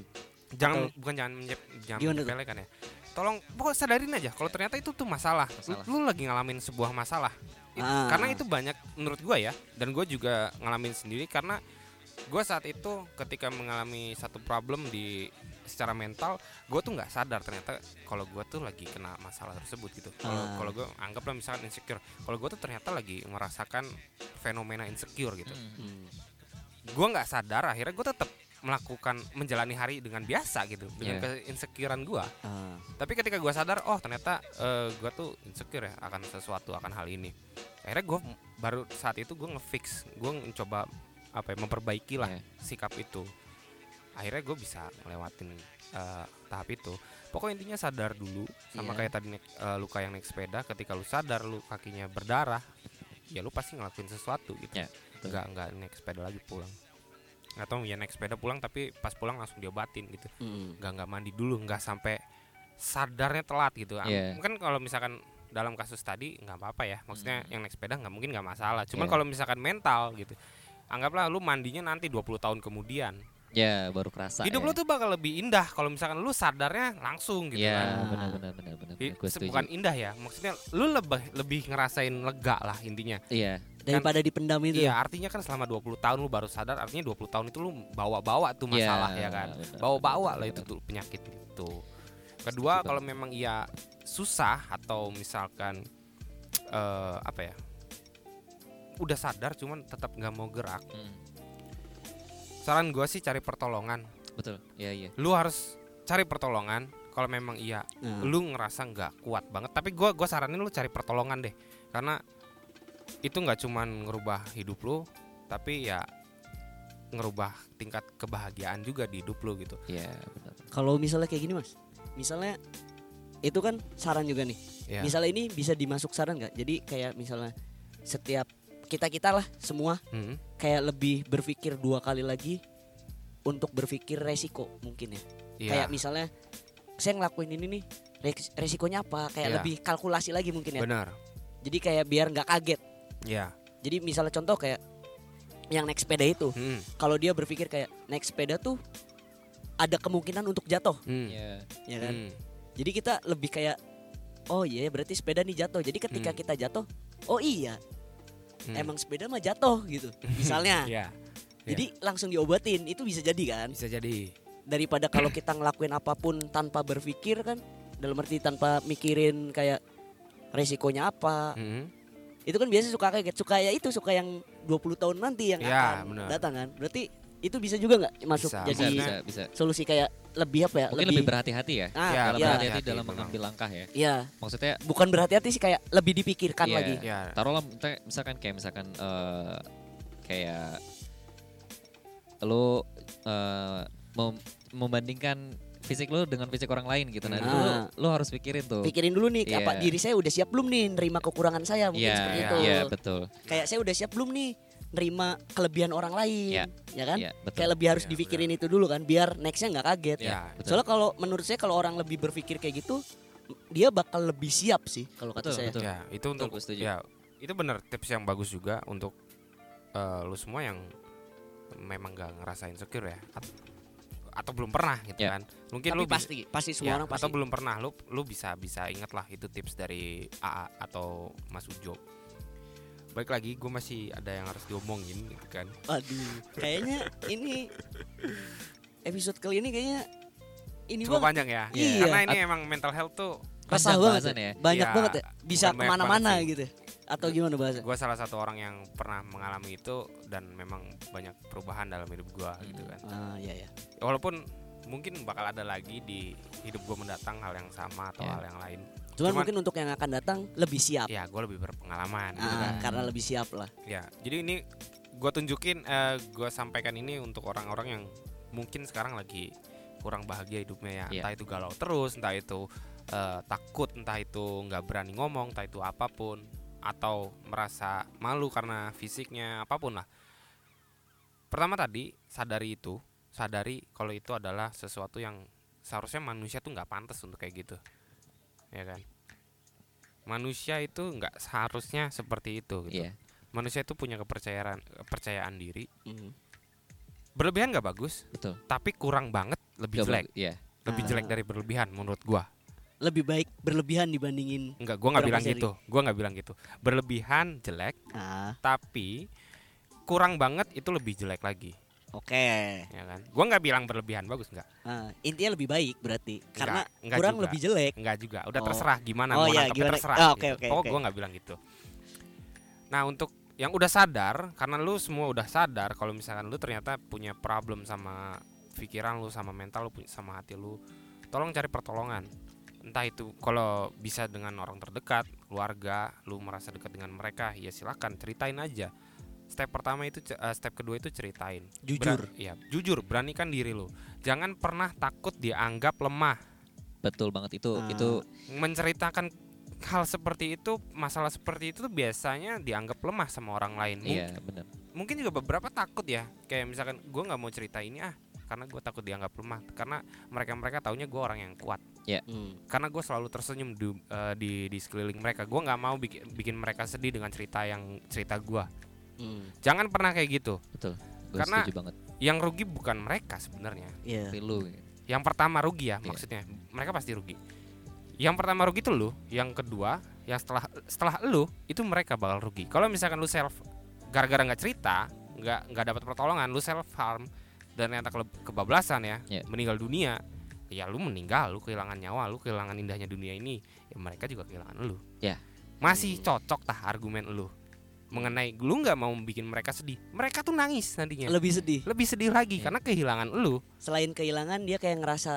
jangan bukan jangan menye- jangan Gimana tuh? menyepelekan ya tolong pokok sadarin aja kalau ternyata itu tuh masalah, Lu- Masalah. Lu, lagi ngalamin sebuah masalah It- Ah. karena itu banyak menurut gua ya dan gua juga ngalamin sendiri karena gua saat itu ketika mengalami satu problem di secara mental gua tuh nggak sadar ternyata kalau gua tuh lagi kena masalah tersebut gitu kalau Ah. kalau gue anggaplah misalkan insecure kalau gua tuh ternyata lagi merasakan fenomena insecure gitu Hmm. Hmm. gue nggak sadar akhirnya gue tetap melakukan menjalani hari dengan biasa gitu dengan Iya. keinsecurean gue Ah, tapi ketika gue sadar oh ternyata gue tuh insecure ya akan sesuatu akan hal ini akhirnya gue baru saat itu gue ngefix gue mencoba apa ya memperbaiki lah Iya. sikap itu akhirnya gue bisa ngelewatin eh, tahap itu pokoknya intinya sadar dulu sama Iya. kayak tadi naik, eh, luka yang naik sepeda ketika lu sadar lu kakinya berdarah ya lu pasti ngelakuin sesuatu gitu Iya, betul. nggak nggak naik sepeda lagi pulang atau ya naik sepeda pulang tapi pas pulang langsung diobatin gitu hmm. nggak nggak mandi dulu nggak sampai sadarnya telat gitu Am- Iya. mungkin kalau misalkan dalam kasus tadi nggak apa-apa ya maksudnya Hmm. yang naik sepeda nggak mungkin nggak masalah cuman Iya. kalau misalkan mental gitu anggaplah lu mandinya nanti 20 tahun kemudian Ya, baru kerasa. hidup ya. lu tuh bakal lebih indah kalau misalkan lu sadarnya langsung gitu Ya, kan kan. benar benar benar benar. I- benar. Gua setuju. bukan indah ya maksudnya lu lebih lebih ngerasain lega lah intinya Iya. daripada dipendam Gitu. itu iya artinya kan selama 20 tahun lu baru sadar artinya 20 tahun itu lu bawa-bawa tuh Iya, masalah ya kan benar, bawa-bawa benar, lah itu benar. tuh penyakit itu. Kedua Setuju kalau memang ia susah atau misalkan eh, apa ya udah sadar cuman tetap nggak mau gerak. Mm, Saran gua sih cari pertolongan. betul. Iya, iya. Lu harus cari pertolongan kalau memang iya Nah, lu ngerasa nggak kuat banget. Tapi gua gua saranin lu cari pertolongan deh karena itu nggak cuman ngerubah hidup lu tapi ya ngerubah tingkat kebahagiaan juga di hidup lu gitu. Iya, benar. kalau misalnya kayak gini mas misalnya itu kan saran juga nih Ya. misalnya ini bisa dimasuk saran nggak jadi kayak misalnya setiap kita kita lah semua Hmm. kayak lebih berpikir dua kali lagi untuk berpikir resiko mungkin ya Iya. kayak misalnya saya ngelakuin ini nih res- resikonya apa kayak Iya. lebih kalkulasi lagi mungkin ya Benar. jadi kayak biar nggak kaget Ya. jadi misalnya contoh kayak yang naik sepeda itu Hmm. kalau dia berpikir kayak naik sepeda tuh ada kemungkinan untuk jatuh Hmm. Iya. ya kan Hmm. Jadi kita lebih kayak oh iya berarti sepeda nih jatuh. Jadi ketika Hmm. kita jatuh, oh iya Hmm. emang sepeda mah jatuh gitu. Misalnya. Iya, Jadi langsung diobatin itu bisa jadi kan. bisa jadi. Daripada kalau kita ngelakuin apapun tanpa berpikir kan dalam arti tanpa mikirin kayak resikonya apa. Hmm. Itu kan biasa suka kaget, suka ya itu suka yang 20 tahun nanti yang Ya, akan benar. datang kan. Berarti itu bisa juga nggak masuk Bisa, Bisa, jadi bisa, bisa. solusi kayak lebih apa ya? Mungkin lebih, berhati-hati ya. Ya, Ah, Dalam iya, berhati-hati Berhati-hati, dalam memang. mengambil langkah ya. iya. Maksudnya Bukan berhati-hati sih kayak lebih dipikirkan Iya. lagi. Ya. taruhlah misalkan- misalkan kayak misalkan eh, kayak lo eh, mem- membandingkan fisik lo dengan fisik orang lain gitu nah lo, Nah. lo harus pikirin tuh pikirin dulu nih apa Iya. diri saya udah siap belum nih nerima kekurangan saya mungkin Iya, seperti iya, itu iya, betul kayak saya udah siap belum nih nerima kelebihan orang lain Iya. ya kan Iya, betul kayak lebih harus Iya, dipikirin itu dulu kan biar nextnya nggak kaget Ya. betul. soalnya kalau menurut saya kalau orang lebih berpikir kayak gitu dia bakal lebih siap sih kalau kata Betul, saya betul. Ya, itu untuk gue setuju. ya, itu benar tips yang bagus juga untuk eh, lu semua yang memang gak ngerasain secure ya. At- atau belum pernah gitu Ya. kan mungkin Tapi lu bisa- pasti pasti ya, semua orang Iya, pasti atau belum pernah lu lu bisa bisa ingat lah itu tips dari AA atau Mas Ujo baik lagi gue masih ada yang harus diomongin gitu kan Aduh, kayaknya ini episode kali ini kayaknya ini cukup banget panjang ya Iya. karena ini emang mental health tuh resah Panjang banget bahasan ya. ya. Banyak Iya, banget ya. Bisa bukan banyak kemana-mana banget sih. Iya. gitu. Atau gimana bahasa? gue salah satu orang yang pernah mengalami itu dan memang banyak perubahan dalam hidup gue gitu kan Ah, iya ya. walaupun mungkin bakal ada lagi di hidup gue mendatang hal yang sama atau Iya. Ya. hal yang lain Cuman, Cuman- mungkin untuk yang akan datang lebih siap. ya gue lebih berpengalaman gitu Ah, kan. karena lebih siap lah. ya jadi ini gue tunjukin gue sampaikan ini untuk orang-orang yang mungkin sekarang lagi kurang bahagia Iya. hidupnya ya entah itu galau terus entah itu eh, takut entah itu nggak berani ngomong entah itu apapun atau merasa malu karena fisiknya apapun lah pertama tadi sadari itu sadari kalau itu adalah sesuatu yang seharusnya manusia tuh nggak pantas untuk kayak gitu ya kan manusia itu nggak seharusnya seperti itu gitu Iya. manusia itu punya kepercayaan kepercayaan diri Mm. berlebihan nggak bagus Betul. tapi kurang banget lebih Gak jelek bagus, Iya. lebih Ah. jelek dari berlebihan menurut gua Lebih baik berlebihan dibandingin nggak gua nggak Kurang bilang percaya gitu gua nggak bilang gitu berlebihan jelek ah, tapi kurang banget itu lebih jelek lagi oke. ya kan gua nggak bilang berlebihan bagus nggak Ah, intinya lebih baik berarti karena Enggak, enggak kurang juga. lebih jelek. nggak juga udah Oh. terserah gimana mau Oh, iya, nangkepnya gimana? terserah Ah, gitu. oke, oke, Pokok oke. gua nggak bilang gitu nah untuk yang udah sadar karena lu semua udah sadar kalau misalkan lu ternyata punya problem sama pikiran lu sama mental lu punya- sama hati lu tolong cari pertolongan entah itu kalau bisa dengan orang terdekat keluarga lu merasa dekat dengan mereka ya silakan ceritain aja step pertama itu ce- eh, step kedua itu ceritain Jujur. Beran- iya, jujur beranikan diri lu jangan pernah takut dianggap lemah Betul banget itu Ah. itu menceritakan hal seperti itu masalah seperti itu tuh biasanya dianggap lemah sama orang lain Mung- iya benar. mungkin juga beberapa takut ya kayak misalkan gue nggak mau cerita ini ah karena gue takut dianggap lemah karena mereka mereka taunya gue orang yang kuat Hmm. karena gue selalu tersenyum di, eh, di di sekeliling mereka gue nggak mau bikin bikin mereka sedih dengan cerita yang cerita gue Hmm. jangan pernah kayak gitu Betul. Gue Karena- setuju banget. yang rugi bukan mereka sebenarnya Iya. Tapi lu yang pertama rugi ya Iya. maksudnya mereka pasti rugi yang pertama rugi itu lu yang kedua yang setelah setelah lu itu mereka bakal rugi kalau misalkan lu self gara-gara nggak cerita nggak nggak dapat pertolongan lu self harm dan ternyata kele- kebablasan ya Iya. meninggal dunia ya lu meninggal lu kehilangan nyawa lu kehilangan indahnya dunia ini ya mereka juga kehilangan lu Iya. masih cocok tah argumen lu mengenai lu nggak mau bikin mereka sedih mereka tuh nangis nantinya Lebih sedih. lebih sedih lagi Iya. karena kehilangan lu Selain kehilangan dia kayak ngerasa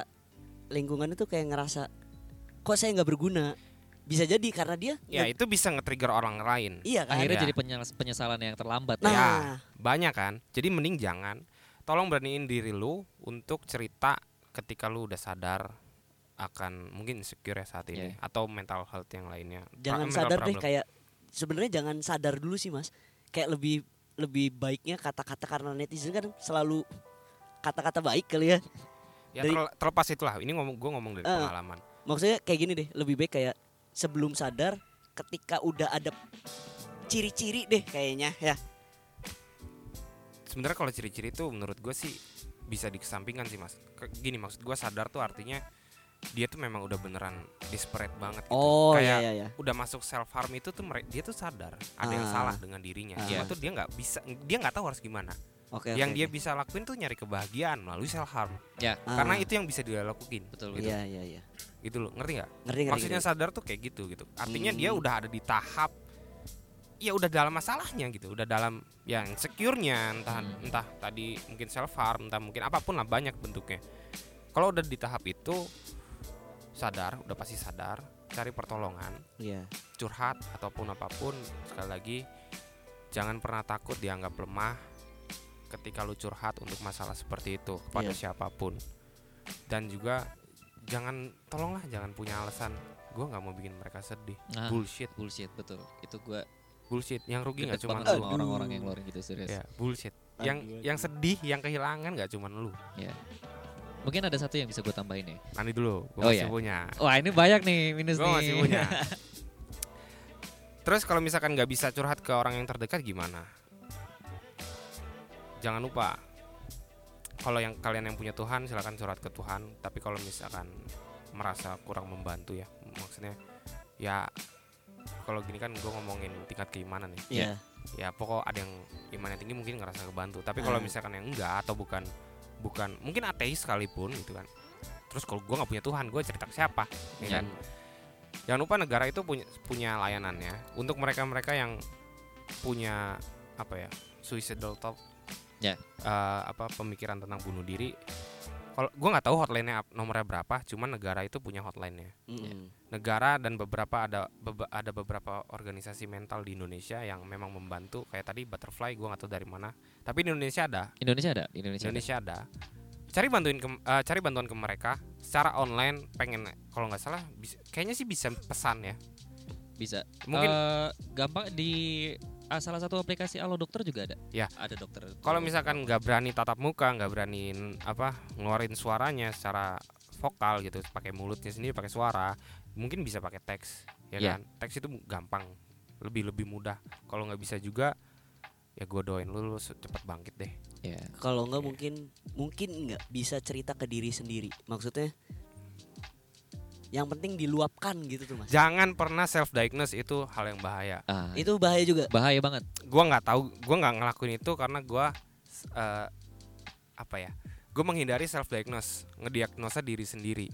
lingkungan itu kayak ngerasa kok saya nggak berguna. Bisa jadi karena dia Ya nggak- itu bisa nge-trigger orang lain iya kan. akhirnya Ada. jadi penyes- penyesalan yang terlambat Nah, ya. Ya. Banyak kan Jadi mending jangan Tolong beraniin diri lu Untuk cerita ketika lu udah sadar Akan mungkin insecure ya saat ini Atau mental health yang lainnya Iya. jangan Mental sadar deh problem. kayak sebenarnya jangan sadar dulu sih mas kayak lebih lebih baiknya kata-kata karena netizen kan selalu kata-kata baik kali ya ya, dari- terle- Terlepas itulah Ini ngomong gue ngomong dari Eh. pengalaman maksudnya kayak gini deh lebih baik kayak sebelum sadar ketika udah ada ciri-ciri deh kayaknya ya Sebenarnya kalau ciri-ciri itu menurut gue sih Bisa dikesampingkan sih mas Ke- Gini maksud gue sadar tuh artinya Dia tuh memang udah beneran desperate banget gitu oh Kayak ya ya ya udah masuk self harm itu tuh mere- dia tuh sadar ada yang Ah. salah dengan dirinya Ah. Iya, cuma tuh dia nggak bisa dia nggak tahu harus gimana oke yang oke, dia oke. bisa lakuin tuh nyari kebahagiaan melalui self harm Ya, Ah, karena itu yang bisa dia lakuin betul betul. iya iya iya gitu loh ngerti nggak ngerti ngerti maksudnya ngerti. sadar tuh kayak gitu gitu artinya dia Hmm. udah ada di tahap ya udah dalam masalahnya gitu udah dalam yang secure-nya entah Hmm. entah tadi mungkin self harm entah mungkin apapun lah banyak bentuknya kalau udah di tahap itu sadar udah pasti sadar cari pertolongan iya curhat ataupun apapun sekali lagi jangan pernah takut dianggap lemah ketika lu curhat untuk masalah seperti itu kepada Iya. siapapun dan juga jangan tolonglah jangan punya alasan gue nggak mau bikin mereka sedih Ah, bullshit bullshit betul. Itu gue bullshit yang rugi nggak deket Iya, cuma banget lu sama Ah, Aduh. orang-orang yang ngeluarin gitu serius. ya bullshit Aduh, yang aduh. yang sedih yang kehilangan nggak cuma lu Mungkin ada satu yang bisa gue tambahin ya. nanti dulu gue Oh, iya. masih punya Wah ini banyak nih minus gue nih. masih punya terus kalau misalkan nggak bisa curhat ke orang yang terdekat gimana jangan lupa kalau yang kalian yang punya Tuhan silakan surat ke Tuhan tapi kalau misalkan merasa kurang membantu ya maksudnya ya kalau gini kan gue ngomongin tingkat keimanan ya Iya. ya pokok ada yang imannya tinggi mungkin ngerasa kebantu tapi kalau Ah. misalkan yang enggak atau bukan bukan mungkin ateis sekalipun gitu kan terus kalau gue nggak punya Tuhan gue cerita ke siapa Iya. ya kan? jangan lupa negara itu punya punya layanannya untuk mereka-mereka yang punya apa ya suicidal thought Ya. eh, apa pemikiran tentang bunuh diri kalau gue nggak tahu hotline-nya ap- nomornya berapa cuman negara itu punya hotline-nya Mm-mm. negara dan beberapa ada bebe- ada beberapa organisasi mental di Indonesia yang memang membantu kayak tadi butterfly gue nggak tahu dari mana tapi di Indonesia ada Indonesia ada Indonesia, ada. Indonesia ada cari bantuin ke, eh, cari bantuan ke mereka secara online pengen kalau nggak salah bis- kayaknya sih bisa pesan ya bisa mungkin mungkin gampang di ah, salah satu aplikasi Alo Dokter juga ada Ya. ada dokter kalau misalkan nggak berani tatap muka nggak berani n- apa ngeluarin suaranya secara vokal gitu pakai mulutnya sendiri pakai suara mungkin bisa pakai teks ya Iya. Ya. kan teks itu gampang lebih lebih mudah kalau nggak bisa juga ya gue doain lu, lu se- cepet bangkit deh ya Kalau nggak Iya. mungkin mungkin nggak bisa cerita ke diri sendiri. Maksudnya yang penting diluapkan gitu tuh mas. jangan pernah self diagnose itu hal yang bahaya Ah, Itu bahaya juga. bahaya banget gua nggak tahu gua nggak ngelakuin itu karena gua eh, apa ya gue menghindari self diagnose ngediagnosa diri sendiri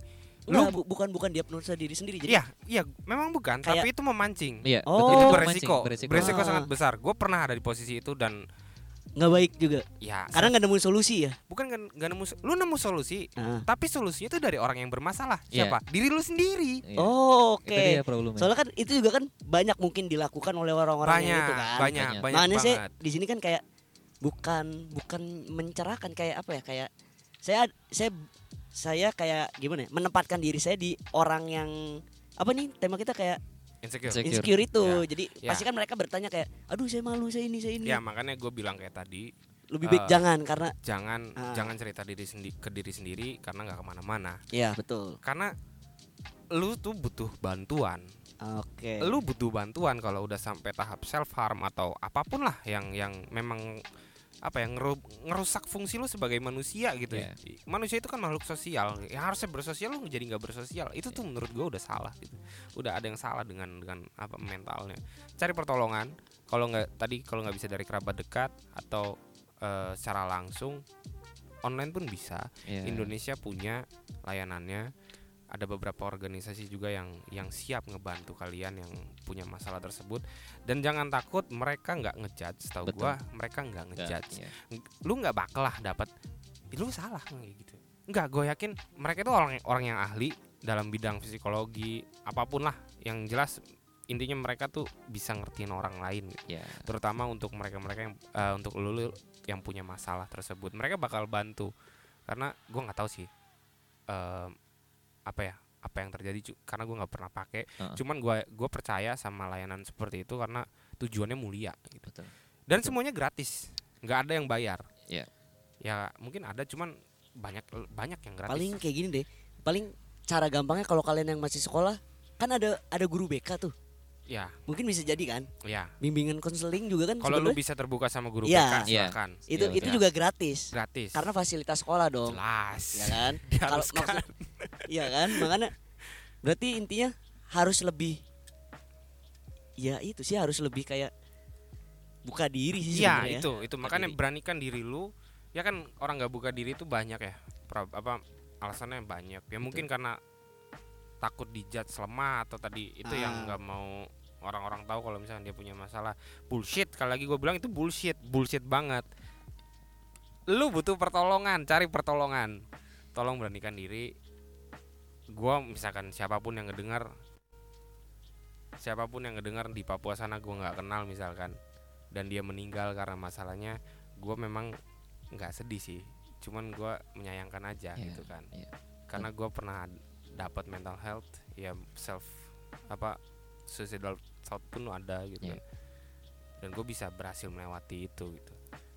Lu- Nggak, bu- bukan bukan diagnosa diri sendiri. Jadi iya iya memang bukan Kayak- tapi itu memancing iya Oh. itu betul. beresiko Memancing, beresiko, Ah. sangat besar gue pernah ada di posisi itu dan nggak baik juga. ya Karena nggak nemuin solusi ya. bukan kan nggak nemu lu nemu solusi Ah. tapi solusinya itu dari orang yang bermasalah Iya. siapa diri lu sendiri Iya. Oh, oke. itu dia problemnya Soalnya kan itu juga kan banyak mungkin dilakukan oleh orang-orang banyak, yang itu kan. banyak Banyak. banyak Makanya saya banget di sini kan kayak bukan bukan mencerahkan kayak apa ya kayak saya saya saya kayak gimana ya menempatkan diri saya di orang yang apa nih tema kita kayak insecure Insecure. insecure itu jadi Ya. pasti kan mereka bertanya kayak aduh saya malu saya ini saya ini ya makanya gue bilang kayak tadi lebih eh, baik jangan karena jangan Ah. jangan cerita diri sendi- ke diri sendiri karena nggak kemana-mana ya betul karena lu tuh butuh bantuan. oke Lu butuh bantuan kalau udah sampai tahap self harm atau apapun lah yang yang memang apa yang ngerusak fungsi lu sebagai manusia gitu Iya. ya. Manusia itu kan makhluk sosial. Yang harusnya bersosial lu jadi nggak bersosial. Itu tuh menurut gua udah salah gitu. Udah ada yang salah dengan dengan apa mentalnya. Cari pertolongan. Kalau nggak tadi kalau nggak bisa dari kerabat dekat atau eh, secara langsung online pun bisa. Iya. Indonesia punya layanannya. Ada beberapa organisasi juga yang yang siap ngebantu kalian yang punya masalah tersebut. Dan jangan takut mereka nggak ngejudge. Tahu Betul. gua mereka Nggak, nggak ngejudge. iya. Lu nggak bakal lah dapat. Lu salah kayak gitu. Nggak, gue yakin mereka itu orang orang yang ahli dalam bidang psikologi apapun lah. Yang jelas intinya mereka tuh bisa ngertiin orang lain Iya. terutama untuk mereka-mereka yang eh, untuk lu, lu yang punya masalah tersebut mereka bakal bantu karena gue nggak tahu sih em, apa ya apa yang terjadi cu- karena gue nggak pernah pakai Heeh. cuman gue gue percaya sama layanan seperti itu karena tujuannya mulia gitu Betul. dan Betul. semuanya gratis nggak ada yang bayar Iya. ya mungkin ada cuman banyak banyak yang gratis paling kayak gini deh paling cara gampangnya kalau kalian yang masih sekolah kan ada ada guru BK tuh ya mungkin bisa jadi kan ya bimbingan konseling juga kan kalau lu sebenarnya. bisa terbuka sama guru Iya. BK Iya. silakan itu Iya, itu betul. juga gratis gratis karena fasilitas sekolah dong jelas ya kan kalau Diharuskan. maksud iya kan makanya berarti intinya harus lebih ya itu sih harus lebih kayak buka diri Iya sih sebenarnya ya. itu itu makanya diri. beranikan diri lu ya kan orang nggak buka diri itu banyak ya pra- apa alasannya banyak ya mungkin karena takut dijudge lemah atau tadi itu yang Ah. nggak mau orang-orang tahu kalau misalnya dia punya masalah bullshit kali lagi gue bilang itu bullshit bullshit banget lu butuh pertolongan cari pertolongan tolong beranikan diri gua misalkan siapapun yang ngedengar siapapun yang ngedengar di Papua sana gua nggak kenal misalkan dan dia meninggal karena masalahnya gua memang nggak sedih sih cuman gua menyayangkan aja Iya, gitu kan iya. karena gua pernah dapat mental health ya self apa suicidal thought pun ada gitu Iya. kan dan gue bisa berhasil melewati itu gitu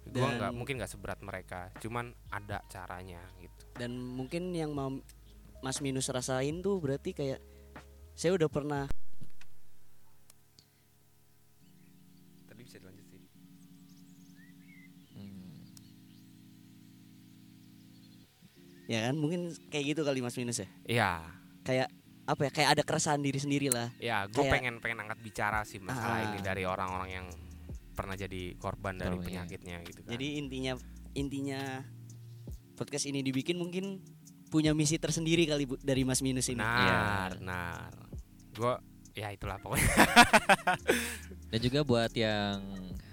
gue Dan- nggak mungkin nggak seberat mereka cuman ada caranya gitu dan mungkin yang mau Mas Minus rasain tuh berarti kayak saya udah pernah tadi bisa dilanjut sih Hmm. ya kan mungkin kayak gitu kali mas minus ya Iya, kayak apa ya kayak ada keresahan diri sendiri lah ya gue Kayak- pengen pengen angkat bicara sih masalah Ah. ini dari orang-orang yang pernah jadi korban dari Oh, iya. penyakitnya gitu kan. jadi intinya intinya podcast ini dibikin mungkin punya misi tersendiri kali bu dari mas minus ini Nah. iya. benar, benar. Gue ya itulah pokoknya. Dan juga buat yang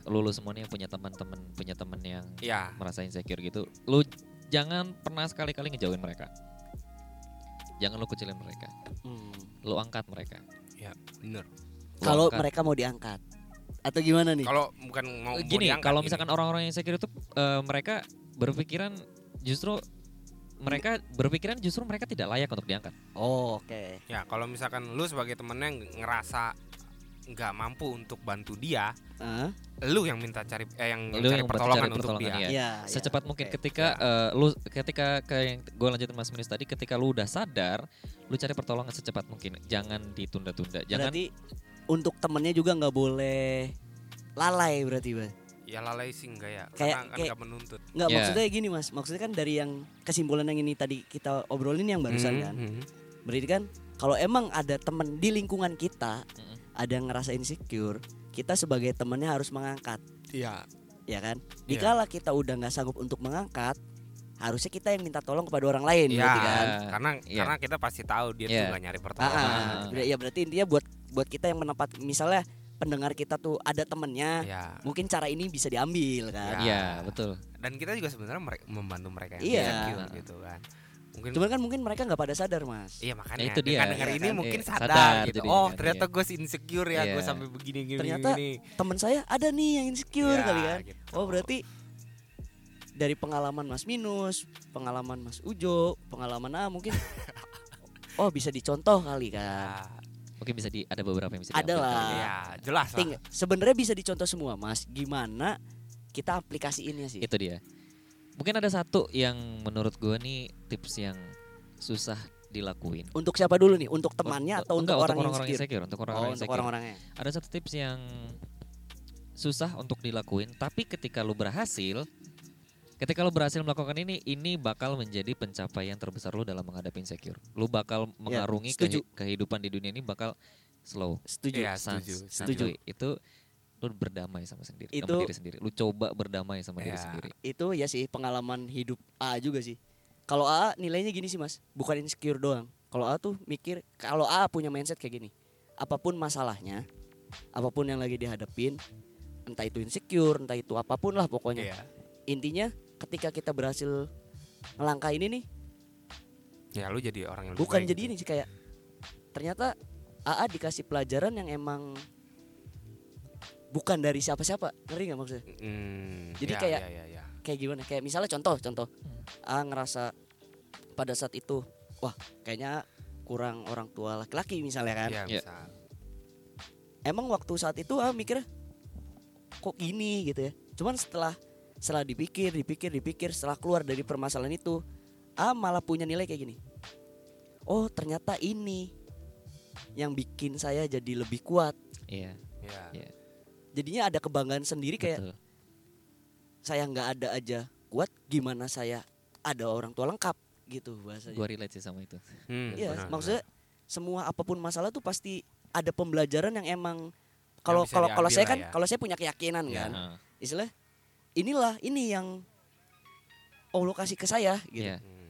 lulus semua nih yang punya teman-teman, punya teman yang Iya, merasa insecure gitu, lu jangan pernah sekali-kali ngejauhin mereka. Jangan lu kecilin mereka, Hmm. lu angkat mereka. bener. Lu kalau angkat. mereka mau diangkat atau gimana nih Kalau bukan mau mau gini, diangkat kalau ini. misalkan orang-orang yang insecure itu eh, mereka berpikiran justru mereka berpikiran justru mereka tidak layak untuk diangkat. oh, oke ya kalau misalkan lu sebagai temennya ng- ngerasa nggak mampu untuk bantu dia, Hah? lu yang minta cari eh yang Lu cari yang pertolongan cari untuk pertolongan, dia. iya. ya, ya. secepat mungkin Oke. ketika eh, lu ketika kayak yang gue lanjutin mas Minis tadi ketika lu udah sadar lu cari pertolongan secepat mungkin jangan ditunda-tunda jangan berarti untuk temennya juga nggak boleh lalai berarti mas Ya lalai sih enggak ya, Kayak- karena kan kayak- nggak menuntut. nggak Ya. maksudnya gini mas maksudnya kan dari yang kesimpulan yang ini tadi kita obrolin yang barusan kan Mhm. berarti kan kalau emang ada temen di lingkungan kita Mm-mm. ada yang ngerasa insecure kita sebagai temennya harus mengangkat Iya. ya kan Iya. dikala kita udah nggak sanggup untuk mengangkat harusnya kita yang minta tolong kepada orang Iya, lain berarti kan karena Iya. karena kita pasti tahu dia Iya. tuh gak nyari Ah, ah, pertolongan. ah. Ber- ya berarti intinya buat buat kita yang menempat misalnya pendengar kita tuh ada temennya Iya. mungkin cara ini bisa diambil Ya. kan iya betul Dan kita juga sebenarnya mere- membantu mereka yang Iya. insecure gitu kan. Mungkin cuman kan mungkin mereka nggak pada sadar mas Iya makanya Nah, itu dia. dengar Iya ini kan? mungkin Iya, sadar, sadar gitu. itu dia, Oh iya. ternyata gue insecure ya, gue Iya. sampai begini gini. Ternyata gini. temen saya ada nih yang insecure Iya, kali kan gitu. oh berarti dari pengalaman mas minus pengalaman mas ujo pengalaman ah mungkin oh bisa dicontoh kali kan Ya, mungkin bisa di ada beberapa yang bisa Ada diambil. lah. ya jelas lah. Ah, Ting, sebenarnya bisa dicontoh semua mas gimana kita aplikasiinnya sih itu dia mungkin ada satu yang menurut gue nih tips yang susah dilakuin untuk siapa dulu nih untuk temannya atau untuk oh, Enggak, orang yang orang-orang insecure insecure untuk orang-orang oh untuk insecure orang-orangnya ada satu tips yang susah untuk dilakuin tapi ketika lu berhasil ketika lu berhasil melakukan ini ini bakal menjadi pencapaian terbesar lu dalam menghadapi insecure lu bakal mengarungi Ya, setuju. kehi- kehidupan di dunia ini bakal slow setuju Iya, sans- setuju, santuy. setuju. Kan? Nah, itu lu berdamai sama sendiri Itu- sama diri sendiri lu coba berdamai sama diri Ya. sendiri itu ya sih pengalaman hidup A juga sih kalau A nilainya gini sih mas bukan insecure doang kalau A tuh mikir kalau A punya mindset kayak gini apapun masalahnya apapun yang lagi dihadapin entah itu insecure entah itu apapun lah pokoknya Iya. intinya ketika kita berhasil ngelangkah ini nih Ya lu jadi orang yang lebih bukan baik jadi gitu. ini sih kayak ternyata AA dikasih pelajaran yang emang bukan dari siapa-siapa ngerti nggak maksudnya Mm, Jadi ya, kayak- kan? ya, ya, ya. kayak gimana kayak misalnya contoh contoh AA ngerasa pada saat itu wah kayaknya kurang orang tua laki-laki misalnya kan Ya, Iya. misal. emang waktu saat itu ah mikirnya kok gini gitu ya cuman setelah setelah dipikir dipikir dipikir setelah keluar dari permasalahan itu ah malah punya nilai kayak gini oh ternyata ini yang bikin saya jadi lebih kuat iya Iya. Iya. jadinya ada kebanggaan sendiri kayak betul saya nggak ada aja kuat gimana saya ada orang tua lengkap gitu bahasanya gue relate sih sama itu Hmm, Iya, benar, maksudnya semua apapun masalah tuh pasti ada pembelajaran yang emang kalau bisa kalau kalau diambil saya lah kan ya. kalau saya punya keyakinan Iya. kan Heeh. istilah inilah ini yang Allah kasih ke saya gitu. Iya. benar. Hmm,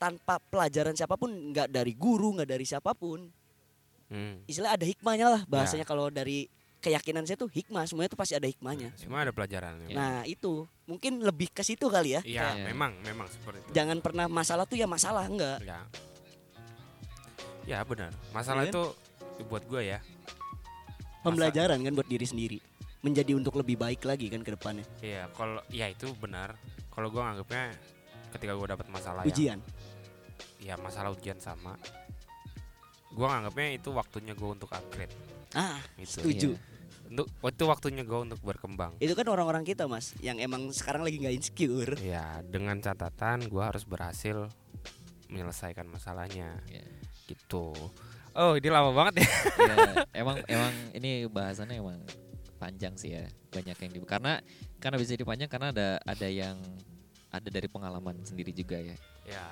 Tanpa pelajaran siapapun, nggak dari guru, nggak dari siapapun. hmm. Istilah ada hikmahnya lah Ya. bahasanya kalau dari keyakinan saya tuh hikmah, semuanya tuh pasti ada hikmahnya. Semua ada pelajaran. memang. Nah, itu mungkin lebih ke situ kali ya. Iya, Iya. memang memang seperti itu. Jangan pernah masalah tuh ya masalah enggak. Ya. Ya benar. Masalah Iya itu buat gue ya. Pembelajaran kan buat diri sendiri. Menjadi untuk lebih baik lagi kan ke depannya. Iya, kalau ya itu benar. Kalau gue nganggapnya ketika gue dapat masalah yang Ujian. ya masalah ujian sama gue nganggapnya itu waktunya gue untuk upgrade Ah, gitu iya. Setuju. Tujuh. Iya. untuk itu waktunya gue untuk berkembang itu kan orang-orang kita, Mas, yang emang sekarang lagi nggak insecure. ya dengan catatan gue harus berhasil menyelesaikan masalahnya Iya. gitu oh ini lama banget ya ya, emang emang ini bahasannya emang panjang sih ya banyak yang di karena karena bisa dipanjang karena ada ada yang ada dari pengalaman sendiri juga ya. ya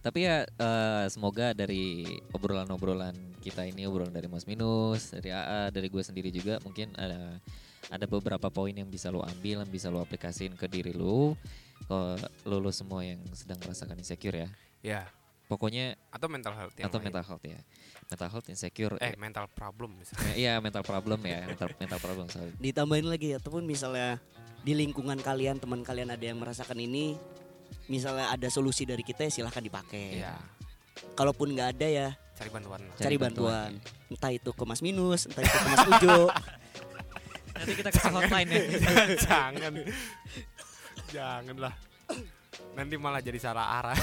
Tapi ya eh, semoga dari obrolan-obrolan kita ini obrolan dari Mas Minus, dari AA, dari gue sendiri juga mungkin ada ada beberapa poin yang bisa lo ambil, yang bisa lo aplikasiin ke diri lo. Kalau lo, lo semua yang sedang merasakan insecure ya. ya Pokoknya atau mental health yang atau lain. mental health iya. ya. Mental health insecure. eh mental problem ya, misalnya iya mental problem ya, mental, mental problem sorry. ditambahin lagi ataupun misalnya di lingkungan kalian teman kalian ada yang merasakan ini misalnya ada solusi dari kita ya silahkan dipakai Iya. ya kalaupun nggak ada ya cari bantuan lah Cari cari, bantuan. bantuan. entah itu ke Mas Minus entah itu ke Mas Ujo Nanti kita kasih hotline ya. jangan jangan lah nanti malah jadi salah arah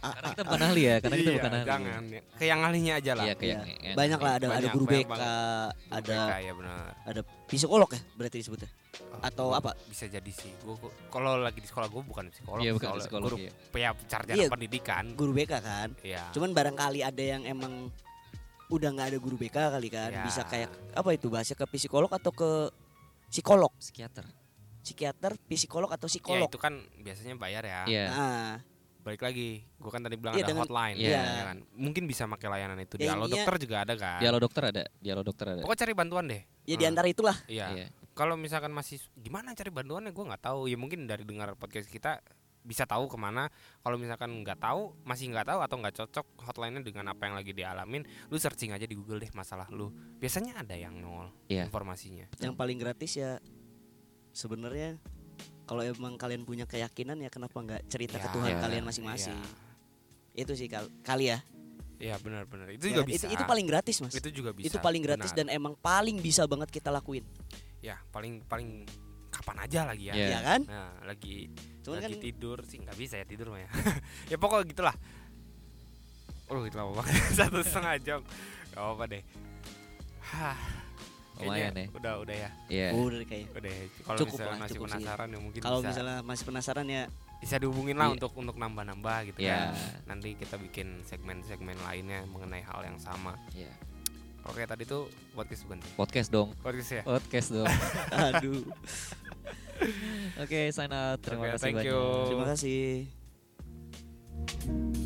karena kita bukan ahli ya, karena kita Iya, bukan ahli. jangan ke yang ahlinya aja lah Iya, kayak Ya, banyak lah ada ada Banyak, guru banyak BK banget. ada ya benar ada psikolog ya berarti disebutnya Oh, Atau gua apa? bisa jadi sih gua, gua- kalau lagi di sekolah gue bukan psikolog Iya, bukan psikolog, guru iya. ya sarjana Iya. pendidikan guru BK kan ya cuman barangkali ada yang emang udah nggak ada guru BK kali kan Ya. bisa kayak apa itu bahasa ke psikolog atau ke psikolog psikiater. psikiater psikolog atau ya psikolog itu kan biasanya bayar ya Iya. nah balik lagi gue kan tadi bilang Iya, ada dengan- hotline Iya. ya kan? mungkin bisa pakai layanan itu Ya, dialog intinya- dokter juga ada kan Dialog dokter ada, dialog dokter ada. pokoknya cari bantuan deh ya Hmm. diantara itulah iya Iya. kalau misalkan masih gimana cari bantuannya gue nggak tahu ya mungkin dari dengar podcast kita bisa tahu kemana kalau misalkan nggak tahu masih nggak tahu atau nggak cocok hotline-nya dengan apa yang lagi dialamin lu searching aja di Google deh masalah lu biasanya ada yang nol Iya. informasinya yang paling gratis ya sebenarnya kalau emang kalian punya keyakinan ya kenapa nggak cerita ke Ya, Tuhan ya, kalian masing-masing Iya. itu sih kal- kali ya Iya benar-benar itu Ya juga kan? bisa itu paling gratis mas itu juga bisa itu paling gratis benar. dan emang paling bisa banget kita lakuin ya paling paling kapan aja lagi ya Iya. ya kan nah lagi cuman lagi kan tidur sih nggak bisa ya tidur mah ya ya pokoknya gitulah oh itu lama banget satu setengah jam gak apa deh Hah, kayaknya Lumayan ya. udah udah ya Iya. udah kayaknya udah ya. kalau Cukup misalnya lah, masih cukup sih. penasaran ya mungkin kalau bisa misalnya masih penasaran ya bisa dihubungin lah Iya. untuk untuk nambah nambah gitu Iya. kan nanti kita bikin segmen-segmen lainnya mengenai hal yang sama Iya. oke tadi tuh podcast bukan Podcast dong. podcast ya Podcast dong. aduh Oke, sign out. Terima Oke, kasih thank banyak. you. terima kasih